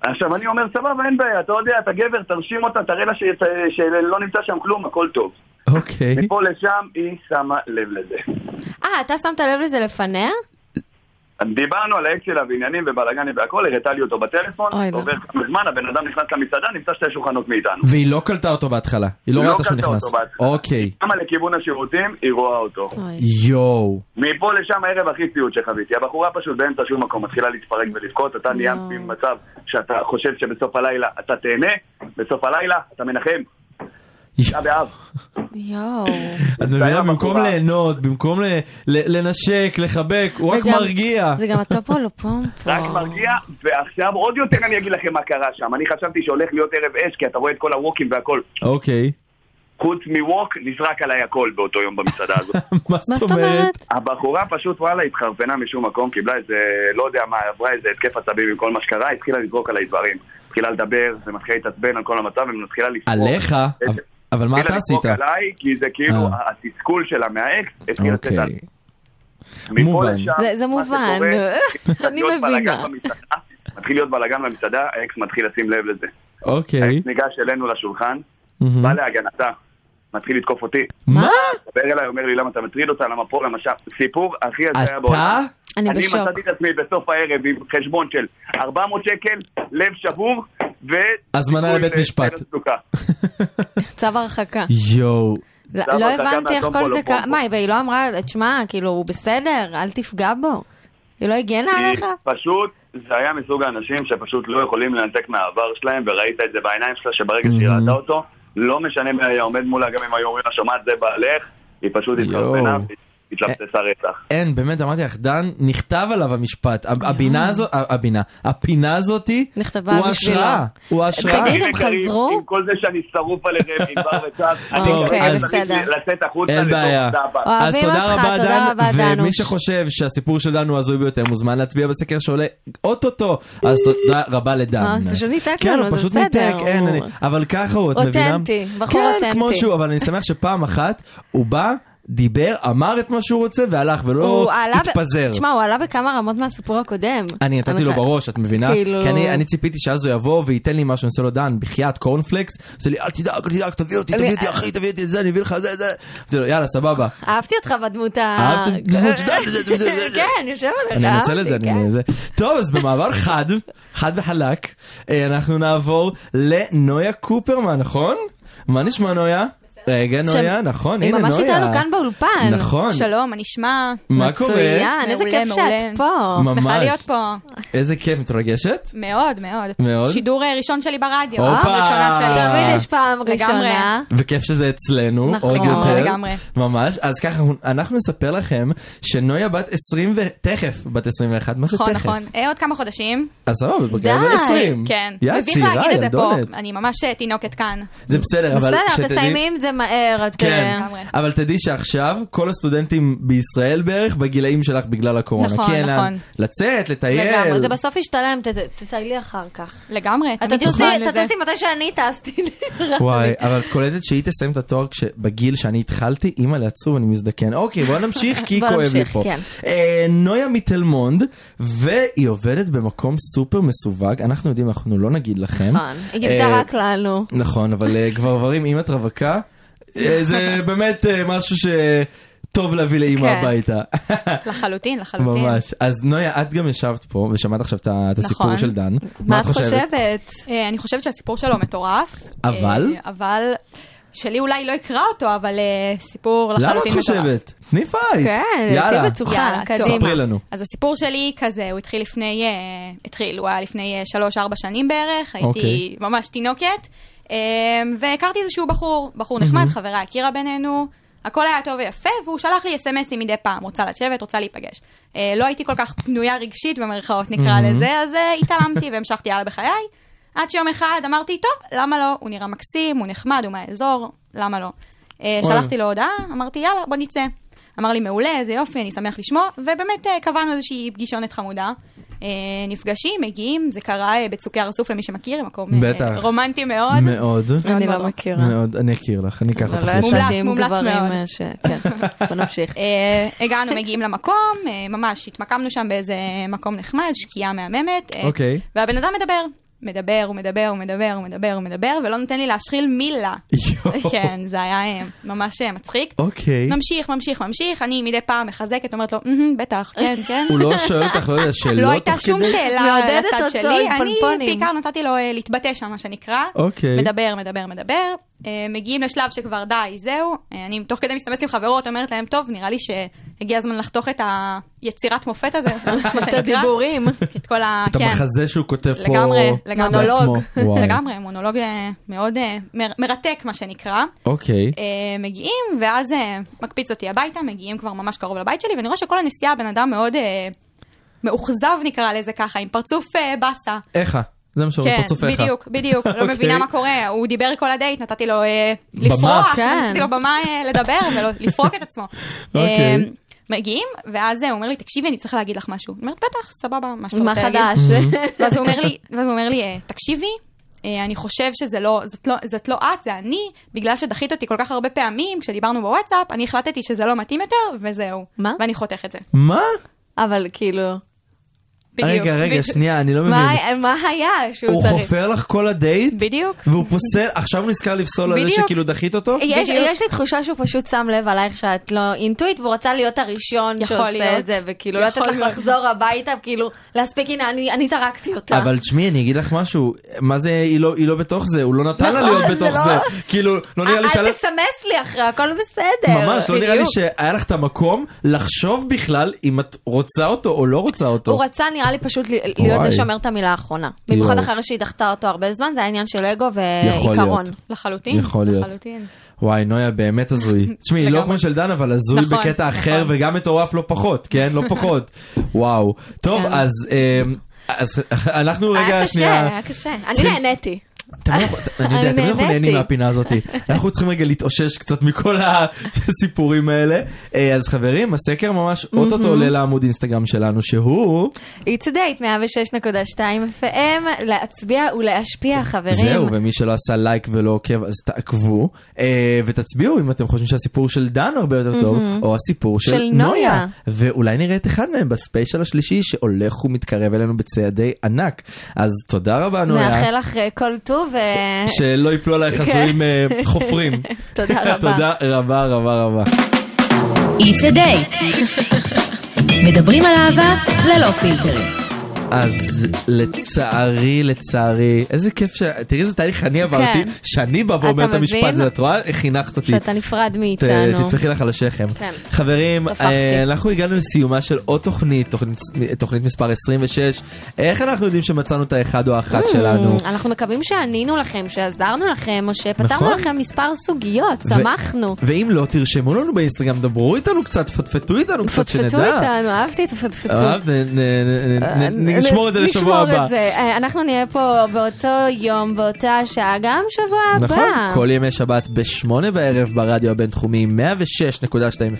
Speaker 8: עכשיו, אני אומר, סבבה, אין בעיה, אתה יודע, אתה גבר, תרשים אותה, תראה לה שיצא- שלא נמצא שם כלום, הכל טוב.
Speaker 5: אוקיי.
Speaker 8: מפה לשם, היא שמה לב לזה.
Speaker 4: אה, אתה שמת לב לזה לפניה?
Speaker 8: דיברנו על האקס שלה ועניינים ובלאגנים והכל, הראתה לי אותו בטלפון,
Speaker 4: אוי, לא.
Speaker 8: עובר כמה זמן, הבן אדם נכנס למסעדה, נמצא שתי שולחנות מאיתנו.
Speaker 5: והיא לא קלטה אותו בהתחלה, היא לא ראתה שהוא
Speaker 8: קלטה
Speaker 5: נכנס.
Speaker 8: אותו בהתחלה.
Speaker 5: אוקיי.
Speaker 8: למה לכיוון השירותים, היא רואה אותו.
Speaker 4: אוי.
Speaker 5: יואו.
Speaker 8: מפה לשם הערב הכי ציוד שחוויתי. הבחורה פשוט באמצע שום מקום מתחילה להתפרק ולבכות, אתה נהיה
Speaker 4: לא.
Speaker 8: במצב שאתה חושב שבסוף הלילה אתה תהנה, בסוף הלילה אתה מנחם. אתה באב.
Speaker 4: יואו.
Speaker 5: את מבינה?
Speaker 8: מצטער,
Speaker 5: במקום
Speaker 8: הבחורה.
Speaker 5: ליהנות, במקום ל- ל- לנשק, לחבק, הוא רק
Speaker 4: וגם-
Speaker 5: מרגיע.
Speaker 4: זה גם הטופו לא פומפו.
Speaker 8: רק מרגיע, ועכשיו עוד יותר אני אגיד לכם מה קרה שם. אני חשבתי שהולך להיות ערב אש, כי אתה רואה את כל הווקים והכל.
Speaker 5: אוקיי.
Speaker 8: חוץ מווק, נזרק עליי הכל באותו יום במסעדה הזאת.
Speaker 5: מה
Speaker 4: מה זאת אומרת?
Speaker 8: הבחורה פשוט וואלה התחרפנה משום מקום, קיבלה איזה, לא יודע מה, עברה איזה התקף עצבים עם כל מה שקרה, התחילה לזרוק עליי דברים. התחילה לדבר, ומתחילה להתעצבן על כל המצב, ומתחילה לפרוק.
Speaker 5: עליך? אבל- אבל מה אתה עשית?
Speaker 8: התחילה לפרוק עליי, כי זה כאילו
Speaker 5: אה.
Speaker 8: התסכול שלה מהאקס, התחיל לצאת
Speaker 5: אוקיי.
Speaker 8: על... מפה
Speaker 5: מובן.
Speaker 8: לשם,
Speaker 4: זה- זה
Speaker 8: מה
Speaker 4: מובן.
Speaker 8: שקורה, מתחיל
Speaker 4: אני
Speaker 8: להיות
Speaker 4: מבינה.
Speaker 8: בלגן במסעדה, מתחיל להיות בלאגן במסעדה, האקס מתחיל לשים לב לזה.
Speaker 5: אוקיי. Mm-hmm.
Speaker 8: האקס ניגש אלינו לשולחן,
Speaker 5: מהמם.
Speaker 8: בא להגנתה, מתחיל לתקוף אותי.
Speaker 5: מה?
Speaker 8: דבר אליי, אומר לי למה אתה מטריד אותה, למה פה, למה שם. סיפור הכי הזיה
Speaker 5: אתה?
Speaker 4: אני
Speaker 8: אני
Speaker 4: בשוק.
Speaker 8: מצאתי את עצמי בסוף הערב עם חשבון של 400 שקל, לב שבור, ו...
Speaker 5: הזמנה לבית
Speaker 8: סיכוי
Speaker 5: משפט.
Speaker 8: לסדר סוכה.
Speaker 4: אה, צו הרחקה.
Speaker 5: יואו.
Speaker 4: לא
Speaker 8: הרחקה
Speaker 4: הבנתי איך
Speaker 8: מהטופו
Speaker 4: כל
Speaker 8: לא
Speaker 4: זה קרה.
Speaker 8: פומפו.
Speaker 4: מה, והיא לא אמרה, תשמע, כאילו, הוא בסדר, אל תפגע בו. היא לא הגנה עליך?
Speaker 8: היא פשוט, זה היה מסוג האנשים שפשוט לא יכולים לנתק מהעבר שלהם, וראית את זה בעיניים שלה, שברגע שהיא
Speaker 5: Mhm.
Speaker 8: ראתה אותו, לא משנה מי היה עומד מולה, גם אם היו אומרים לה, שומעת זה בעלך, היא פשוט
Speaker 5: יואו. אה.
Speaker 8: התחרפנה, התלבטסה רצח.
Speaker 5: אין, באמת, אמרתי לך, דן, נכתב עליו המשפט. ה- הבינה הזאת, ה- הבינה, הפינה הזאתי,
Speaker 4: נכתבה
Speaker 5: הוא
Speaker 4: בשבילו.
Speaker 5: השראה. הוא השראה.
Speaker 4: תגיד, הם
Speaker 8: יקרים,
Speaker 4: חזרו? אוקיי,
Speaker 8: עם כל זה שאני שרוף עליכם, עם בר וצד,
Speaker 4: טוב,
Speaker 8: אני
Speaker 5: אז-
Speaker 8: צריך לצאת החוצה
Speaker 5: אין
Speaker 8: לתוך
Speaker 5: בעיה.
Speaker 8: סבא.
Speaker 5: אז
Speaker 4: אוהבים
Speaker 5: תודה
Speaker 4: אותך,
Speaker 5: רבה
Speaker 4: תודה
Speaker 5: דן,
Speaker 4: רבה, אוקיי.
Speaker 5: ומי
Speaker 4: דנוש.
Speaker 5: שחושב שהסיפור של דן הוא הזוי ביותר מוזמן להצביע בסקר שעולה אוטוטו, אז תודה רבה לדן.
Speaker 4: אה, פשוט ניתק
Speaker 5: כן,
Speaker 4: לנו,
Speaker 5: הוא
Speaker 4: זה
Speaker 5: פשוט
Speaker 4: בסדר,
Speaker 5: ניתק, אין,
Speaker 4: הוא-
Speaker 5: אני- אבל ככה הוא, את מבינה?
Speaker 4: אותנטי, בחור
Speaker 5: כן,
Speaker 4: אותנטי.
Speaker 5: כמו שהוא, אבל אני שמח שפעם אחת הוא בא, דיבר, אמר את מה שהוא רוצה והלך, ולא
Speaker 4: הוא עלה ב-
Speaker 5: לא, התפזר.
Speaker 4: תשמע, הוא עלה בכמה רמות מהסיפור הקודם.
Speaker 5: אני נתתי לו
Speaker 4: אנחנו-
Speaker 5: בראש, את מבינה?
Speaker 4: כאילו-
Speaker 5: כי אני, אני ציפיתי שאז הוא יבוא וייתן לי משהו, אני עושה לו דן, בחייאת קורנפלקס, עושה לי אל תדאג, אל תדאג, תביא אותי, תביא אותי אחי, תביא אותי את זה, אני אביא לך זה, זה. אמרתי לו, יאללה, סבבה.
Speaker 4: אהבתי אותך בדמות ה...
Speaker 5: אהבת דמות שדן, זה, זה, זה, זה.
Speaker 4: כן, יושב עליך.
Speaker 5: אני אנצל את זה,
Speaker 4: אהבתי,
Speaker 5: אני...
Speaker 4: כן.
Speaker 5: זה. טוב, אז במעבר חד, חד וחלק, אה, אנחנו נעבור לנויה קופרמן, נכון? מה נשמע נויה? רגע, נויה, נכון,
Speaker 4: היא
Speaker 5: הנה נויה.
Speaker 4: ממש איתנו כאן באולפן.
Speaker 5: נכון.
Speaker 9: שלום, מה נשמע?
Speaker 5: מה קורה?
Speaker 4: מצוין, איזה
Speaker 9: מעולה,
Speaker 4: כיף
Speaker 9: מעולה.
Speaker 4: שאת פה.
Speaker 5: ממש.
Speaker 9: שמחה להיות פה.
Speaker 5: איזה כיף, מתרגשת?
Speaker 9: מאוד, מאוד.
Speaker 5: מאוד?
Speaker 9: שידור אה, ראשון שלי ברדיו.
Speaker 5: הופה.
Speaker 9: פעם ראשונה שלי.
Speaker 5: אה.
Speaker 4: תמיד יש פעם
Speaker 9: לגמרי.
Speaker 4: ראשונה.
Speaker 5: וכיף שזה אצלנו,
Speaker 4: נכון.
Speaker 5: עוד יותר.
Speaker 9: לגמרי.
Speaker 5: ממש. אז ככה, אנחנו- אנחנו נספר לכם שנויה בת 20 ו... תכף בת 21, מה זה
Speaker 9: נכון,
Speaker 5: תכף?
Speaker 9: נכון. אה, עוד כמה חודשים.
Speaker 5: אז סבבה, בגלל
Speaker 4: די.
Speaker 5: בת 20.
Speaker 9: כן.
Speaker 5: יא,
Speaker 9: מביך
Speaker 5: צעירה,
Speaker 9: להגיד את זה פה.
Speaker 5: ילדונת.
Speaker 9: אני ממש אה, תינוקת כאן.
Speaker 5: זה בסדר, אבל
Speaker 4: בסדר,
Speaker 5: שתדעי-
Speaker 4: תסיימי עם זה מהר. את- אה,
Speaker 5: כן,
Speaker 9: לגמרי.
Speaker 5: אבל תדעי שעכשיו כל הסטודנטים בישראל בערך בגילאים שלך בגלל הקורונה.
Speaker 9: נכון,
Speaker 5: כי אין לאן
Speaker 9: נכון.
Speaker 5: לצאת, לטייל.
Speaker 4: לגמרי, זה בסוף ישתלם, ת- ת- תטיילי אחר כך.
Speaker 9: לגמרי.
Speaker 4: אתה
Speaker 9: תמיד יש
Speaker 4: תוסי-
Speaker 9: זמן
Speaker 4: אתה
Speaker 9: לזה.
Speaker 4: תוסי מתי שאני טסתי.
Speaker 5: וואי, אבל את קולטת שהיא תסיים את התואר כש- בגיל שאני התחלתי, אימא לעצוב, אני מזדקן. אוקיי, בוא נמשיך, כי
Speaker 4: בוא
Speaker 5: כואב לי
Speaker 4: נמשיך,
Speaker 5: פה.
Speaker 4: כן.
Speaker 5: אה, נויה מתלמונד, והיא עובדת במקום סופר מסווג, אנחנו יודעים, אנחנו לא נגיד לכם.
Speaker 4: נכון, היא גילתה
Speaker 5: אה,
Speaker 4: רק לא. לנו.
Speaker 5: נכון, אבל אה, גברברים, אם את רווקה, אה, זה באמת אה, משהו שטוב להביא לאימא
Speaker 4: כן.
Speaker 5: הביתה.
Speaker 9: לחלוטין, לחלוטין.
Speaker 5: ממש. אז נויה, את גם ישבת פה ושמעת עכשיו את ה- את הסיפור
Speaker 9: נכון.
Speaker 5: של דן.
Speaker 4: מה את חושבת?
Speaker 9: אה, אני חושבת שהסיפור שלו מטורף.
Speaker 5: אבל?
Speaker 9: אה, אבל... שלי אולי לא יקרא אותו, אבל אה, סיפור
Speaker 5: למה את
Speaker 9: לחלוטין מטורף.
Speaker 5: חושבת? תני פייט.
Speaker 4: כן,
Speaker 5: יאללה.
Speaker 4: תהיי בטוחה,
Speaker 9: יאללה, טוב.
Speaker 4: קדימה.
Speaker 5: ספרי לנו.
Speaker 9: אז הסיפור שלי כזה, הוא התחיל לפני, אה, התחיל, הוא היה לפני שלוש-ארבע שנים בערך,
Speaker 5: אוקיי.
Speaker 9: הייתי ממש תינוקת, אה, והכרתי איזשהו בחור, בחור נחמד, חברה הכירה בינינו, הכל היה טוב ויפה, והוא שלח לי אסמסים מדי פעם, רוצה לשבת, רוצה להיפגש. אה, לא הייתי כל כך פנויה רגשית, במרכאות נקרא לזה, אז אה, התעלמתי והמשכתי הלאה בחיי, עד שיום אחד אמרתי, טוב, למה לא? הוא נראה מקסים, הוא נחמד, הוא מהאזור, למה לא? אה,
Speaker 5: וואלה.
Speaker 9: שלחתי לו הודעה, אמרתי, יאללה, בוא נצא. אמר לי, מעולה, איזה יופי, אני שמח לשמוע, ובאמת אה, קבענו איזושהי פגישונת חמודה. אה, נפגשים, מגיעים, זה קרה אה, בצוקי הר-סוף למי שמכיר, מקום אה,
Speaker 5: בטח.
Speaker 9: רומנטי מאוד.
Speaker 5: מאוד.
Speaker 4: אני
Speaker 9: מאוד
Speaker 4: לא
Speaker 9: מאוד.
Speaker 4: מכירה.
Speaker 5: מאוד, אני אכיר לך, אני אקח
Speaker 4: אבל
Speaker 5: אותך
Speaker 4: לא
Speaker 5: לשם.
Speaker 9: מומלץ,
Speaker 4: ישנתי עם
Speaker 9: מומלץ
Speaker 4: גברים
Speaker 9: מאוד.
Speaker 4: אה, ש... כן, בוא נמשיך.
Speaker 9: אה, הגענו, מגיעים למקום, אה, ממש התמקמנו שם באיזה מקום נחמד, שקיעה מהממת. אה,
Speaker 5: אוקיי.
Speaker 9: והבן אדם מדבר. מדבר, הוא מדבר, הוא מדבר, הוא מדבר, הוא מדבר, ולא נותן לי להשחיל מילה.
Speaker 5: יואו.
Speaker 9: כן, זה היה אה, ממש אה, מצחיק.
Speaker 5: אוקיי.
Speaker 9: ממשיך, ממשיך, ממשיך, אני מדי פעם מחזקת, אומרת לו, "מהמם, בטח, כן, כן.
Speaker 5: הוא לא שואל אותך, לא יודע, שאלות
Speaker 9: לא הייתה
Speaker 5: תוך
Speaker 9: שום
Speaker 5: כדי?
Speaker 9: שאלה
Speaker 4: מעודדת
Speaker 9: לצד
Speaker 4: אותו
Speaker 9: שלי,
Speaker 4: עם
Speaker 9: אני
Speaker 4: פלפונים.
Speaker 9: בעיקר נתתי לו אה, להתבטא שם, מה שנקרא.
Speaker 5: אוקיי.
Speaker 9: מדבר, מדבר, מדבר. אה, מגיעים לשלב שכבר די, זהו. אה, אני תוך כדי מסתמסת עם חברות, אומרת להם, טוב, נראה לי שהגיע הזמן לחתוך את היצירת מופת הזה, מה
Speaker 4: את
Speaker 9: שנקרא.
Speaker 4: הדיבורים.
Speaker 9: את כל ה...
Speaker 5: את
Speaker 9: כן.
Speaker 5: המחזה שהוא כותב פה
Speaker 9: לגמרי, לגמרי.
Speaker 5: בעצמו. וואי.
Speaker 9: לגמרי, מונולוג אה, מאוד אה, מר- מרתק, מה שנקרא.
Speaker 5: אוקיי.
Speaker 9: אה, מגיעים, ואז אה, מקפיץ אותי הביתה, מגיעים כבר ממש קרוב לבית שלי, ואני רואה שכל הנסיעה הבן אדם מאוד אה, מאוכזב נקרא לזה ככה, עם פרצוף אה, באסה.
Speaker 5: איכה. זה מה שאומרים,
Speaker 9: כן,
Speaker 5: פרצופיך.
Speaker 9: בדיוק, בדיוק, לא
Speaker 5: אוקיי.
Speaker 9: מבינה מה קורה, הוא דיבר כל הדייט, נתתי לו אה,
Speaker 5: במה.
Speaker 9: לפרוח,
Speaker 4: כן.
Speaker 9: נתתי לו במה אה, לדבר ולפרוק את עצמו.
Speaker 5: אוקיי.
Speaker 9: אה, מגיעים, ואז אה, הוא אומר לי, תקשיבי, אני צריך להגיד לך משהו. אני אומרת, בטח, סבבה, מה שאתה
Speaker 4: מה
Speaker 9: רוצה להגיד.
Speaker 4: חדש?
Speaker 9: ואז הוא אומר לי, ואז הוא אומר לי, "אה, תקשיבי, אה, אני חושב שזה לא, זאת לא, זאת לא את, זה אני, בגלל שדחית אותי כל כך הרבה פעמים כשדיברנו בוואטסאפ, אני החלטתי שזה לא מתאים יותר, וזהו.
Speaker 4: מה?
Speaker 9: ואני חותך את זה.
Speaker 5: מה?
Speaker 4: אבל כאילו,
Speaker 9: בדיוק.
Speaker 5: רגע, רגע,
Speaker 9: בדיוק.
Speaker 5: שנייה, אני לא
Speaker 4: מה
Speaker 5: מבין.
Speaker 4: מה היה שהוא
Speaker 5: הוא
Speaker 4: צריך?
Speaker 5: חופר לך כל הדייט?
Speaker 9: בדיוק.
Speaker 5: והוא פוסל, עכשיו הוא נזכר לפסול על זה
Speaker 9: בדיוק. אה,
Speaker 5: שכאילו דחית אותו?
Speaker 4: יש,
Speaker 9: בדיוק.
Speaker 4: יש לי תחושה שהוא פשוט שם לב עלייך שאת לא אינטואיט והוא רצה להיות הראשון
Speaker 9: יכול
Speaker 4: שעושה
Speaker 9: להיות.
Speaker 4: את זה וכאילו לא
Speaker 9: יכול
Speaker 4: לתת לך
Speaker 9: להיות.
Speaker 4: לחזור הביתה וכאילו להספיק הנה אני, אני זרקתי אותה.
Speaker 5: אבל תשמעי, אני אגיד לך משהו, מה זה, היא לא- היא לא בתוך זה, הוא לא נתן לה
Speaker 4: נכון,
Speaker 5: להיות
Speaker 4: זה
Speaker 5: בתוך
Speaker 4: לא-
Speaker 5: זה. כאילו, לא נראה לי
Speaker 4: אה, אל
Speaker 5: שעלה...
Speaker 4: תסמס לי אחרי הכל בסדר.
Speaker 5: ממש, לא נראה לי
Speaker 4: בדיוק.
Speaker 5: שהיה לך את המקום לחשוב בכלל אם את רוצה אותו או לא רוצה אותו.
Speaker 4: הוא רצה נראה לי פשוט ל- להיות
Speaker 5: וואי.
Speaker 4: זה שאומר את המילה האחרונה. במיוחד
Speaker 5: יואו.
Speaker 4: אחרי שהיא דחתה אותו הרבה זמן, זה היה עניין של אגו
Speaker 5: יכול
Speaker 4: ועיקרון.
Speaker 5: להיות.
Speaker 9: לחלוטין.
Speaker 5: יכול להיות.
Speaker 9: לחלוטין.
Speaker 5: וואי, נויה באמת הזוי. תשמעי, לא
Speaker 9: לגמרי.
Speaker 5: כמו של דן, אבל הזוי
Speaker 9: נכון,
Speaker 5: בקטע אחר,
Speaker 9: נכון.
Speaker 5: וגם מטורף לא פחות, כן? לא פחות. וואו. טוב,
Speaker 4: כן.
Speaker 5: אז... אמ, אז אנחנו
Speaker 4: היה
Speaker 5: רגע,
Speaker 4: קשה,
Speaker 5: שנייה,
Speaker 4: היה קשה. אני
Speaker 5: צריכים-
Speaker 4: נהניתי.
Speaker 5: אתם לא יכול- אני יודע, אתם לא יכולים נהנים
Speaker 4: נהניתי.
Speaker 5: מהפינה הזאת. אנחנו צריכים רגע להתאושש קצת מכל הסיפורים האלה. אה, אז חברים, הסקר ממש אוטוטו עולה לעמוד אינסטגרם שלנו, שהוא...
Speaker 4: It's a date 106.2 FM, להצביע ולהשפיע, חברים.
Speaker 5: זהו, ומי שלא עשה לייק ולא עוקב, אז תעקבו, אה, ותצביעו אם אתם חושבים שהסיפור של דן הרבה יותר טוב, או הסיפור של,
Speaker 4: של נויה.
Speaker 5: ואולי נראה את אחד מהם בספיישל השלישי, שהולך ומתקרב אלינו בצעדי ענק. אז תודה רבה, נויה.
Speaker 4: נאחל לך אה, כל טוב. אה,
Speaker 5: שלא ייפלו עלייך
Speaker 4: כן.
Speaker 5: הזויים אה, חופרים.
Speaker 4: תודה רבה.
Speaker 5: תודה רבה רבה רבה.
Speaker 3: It's a date. מדברים על אהבה ללא פילטרים.
Speaker 5: אז לצערי, לצערי, איזה כיף ש... תראי איזה תהליך אני עברתי,
Speaker 4: כן.
Speaker 5: שאני בא
Speaker 4: אתה
Speaker 5: ואומר את המשפט
Speaker 4: מבין?
Speaker 5: הזה, את רואה? איך חינכת אותי.
Speaker 4: שאתה נפרד
Speaker 5: ת-
Speaker 4: מאיתנו.
Speaker 5: תטפחי לך על השכם.
Speaker 4: כן.
Speaker 5: חברים,
Speaker 4: טפחתי.
Speaker 5: אה, אנחנו הגענו לסיומה של עוד תוכנית, תוכנית- תוכנית מספר 26. איך אנחנו יודעים שמצאנו את האחד או האחת שלנו?
Speaker 4: Mm, אנחנו מקווים שענינו לכם, שעזרנו לכם, או שפתרנו
Speaker 5: נכון.
Speaker 4: לכם מספר סוגיות,
Speaker 5: ו-
Speaker 4: שמחנו.
Speaker 5: ואם לא, תרשמו לנו באינסטגרם, דברו איתנו קצת, פטפטו איתנו קצת, שנדע.
Speaker 4: פטפטו איתנו, אהבתי את הפטפטות.
Speaker 5: אהבת? נ- נ- נ- נ- נשמור את זה לשבוע
Speaker 4: נשמור
Speaker 5: הבא.
Speaker 4: את זה. אה, אנחנו נהיה פה באותו יום, באותה שעה, גם שבוע הבא.
Speaker 5: נכון, כל ימי שבת בשמונה בערב ברדיו הבינתחומי 106.2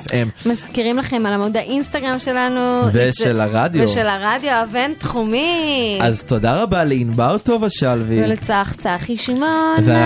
Speaker 5: FM.
Speaker 4: מזכירים לכם על עמוד האינסטגרם שלנו.
Speaker 5: ושל
Speaker 4: את-
Speaker 5: הרדיו.
Speaker 4: ושל הרדיו הבין-תחומי.
Speaker 5: אז תודה רבה לענבר טובה שלוי.
Speaker 4: ולצח צחי שמעון.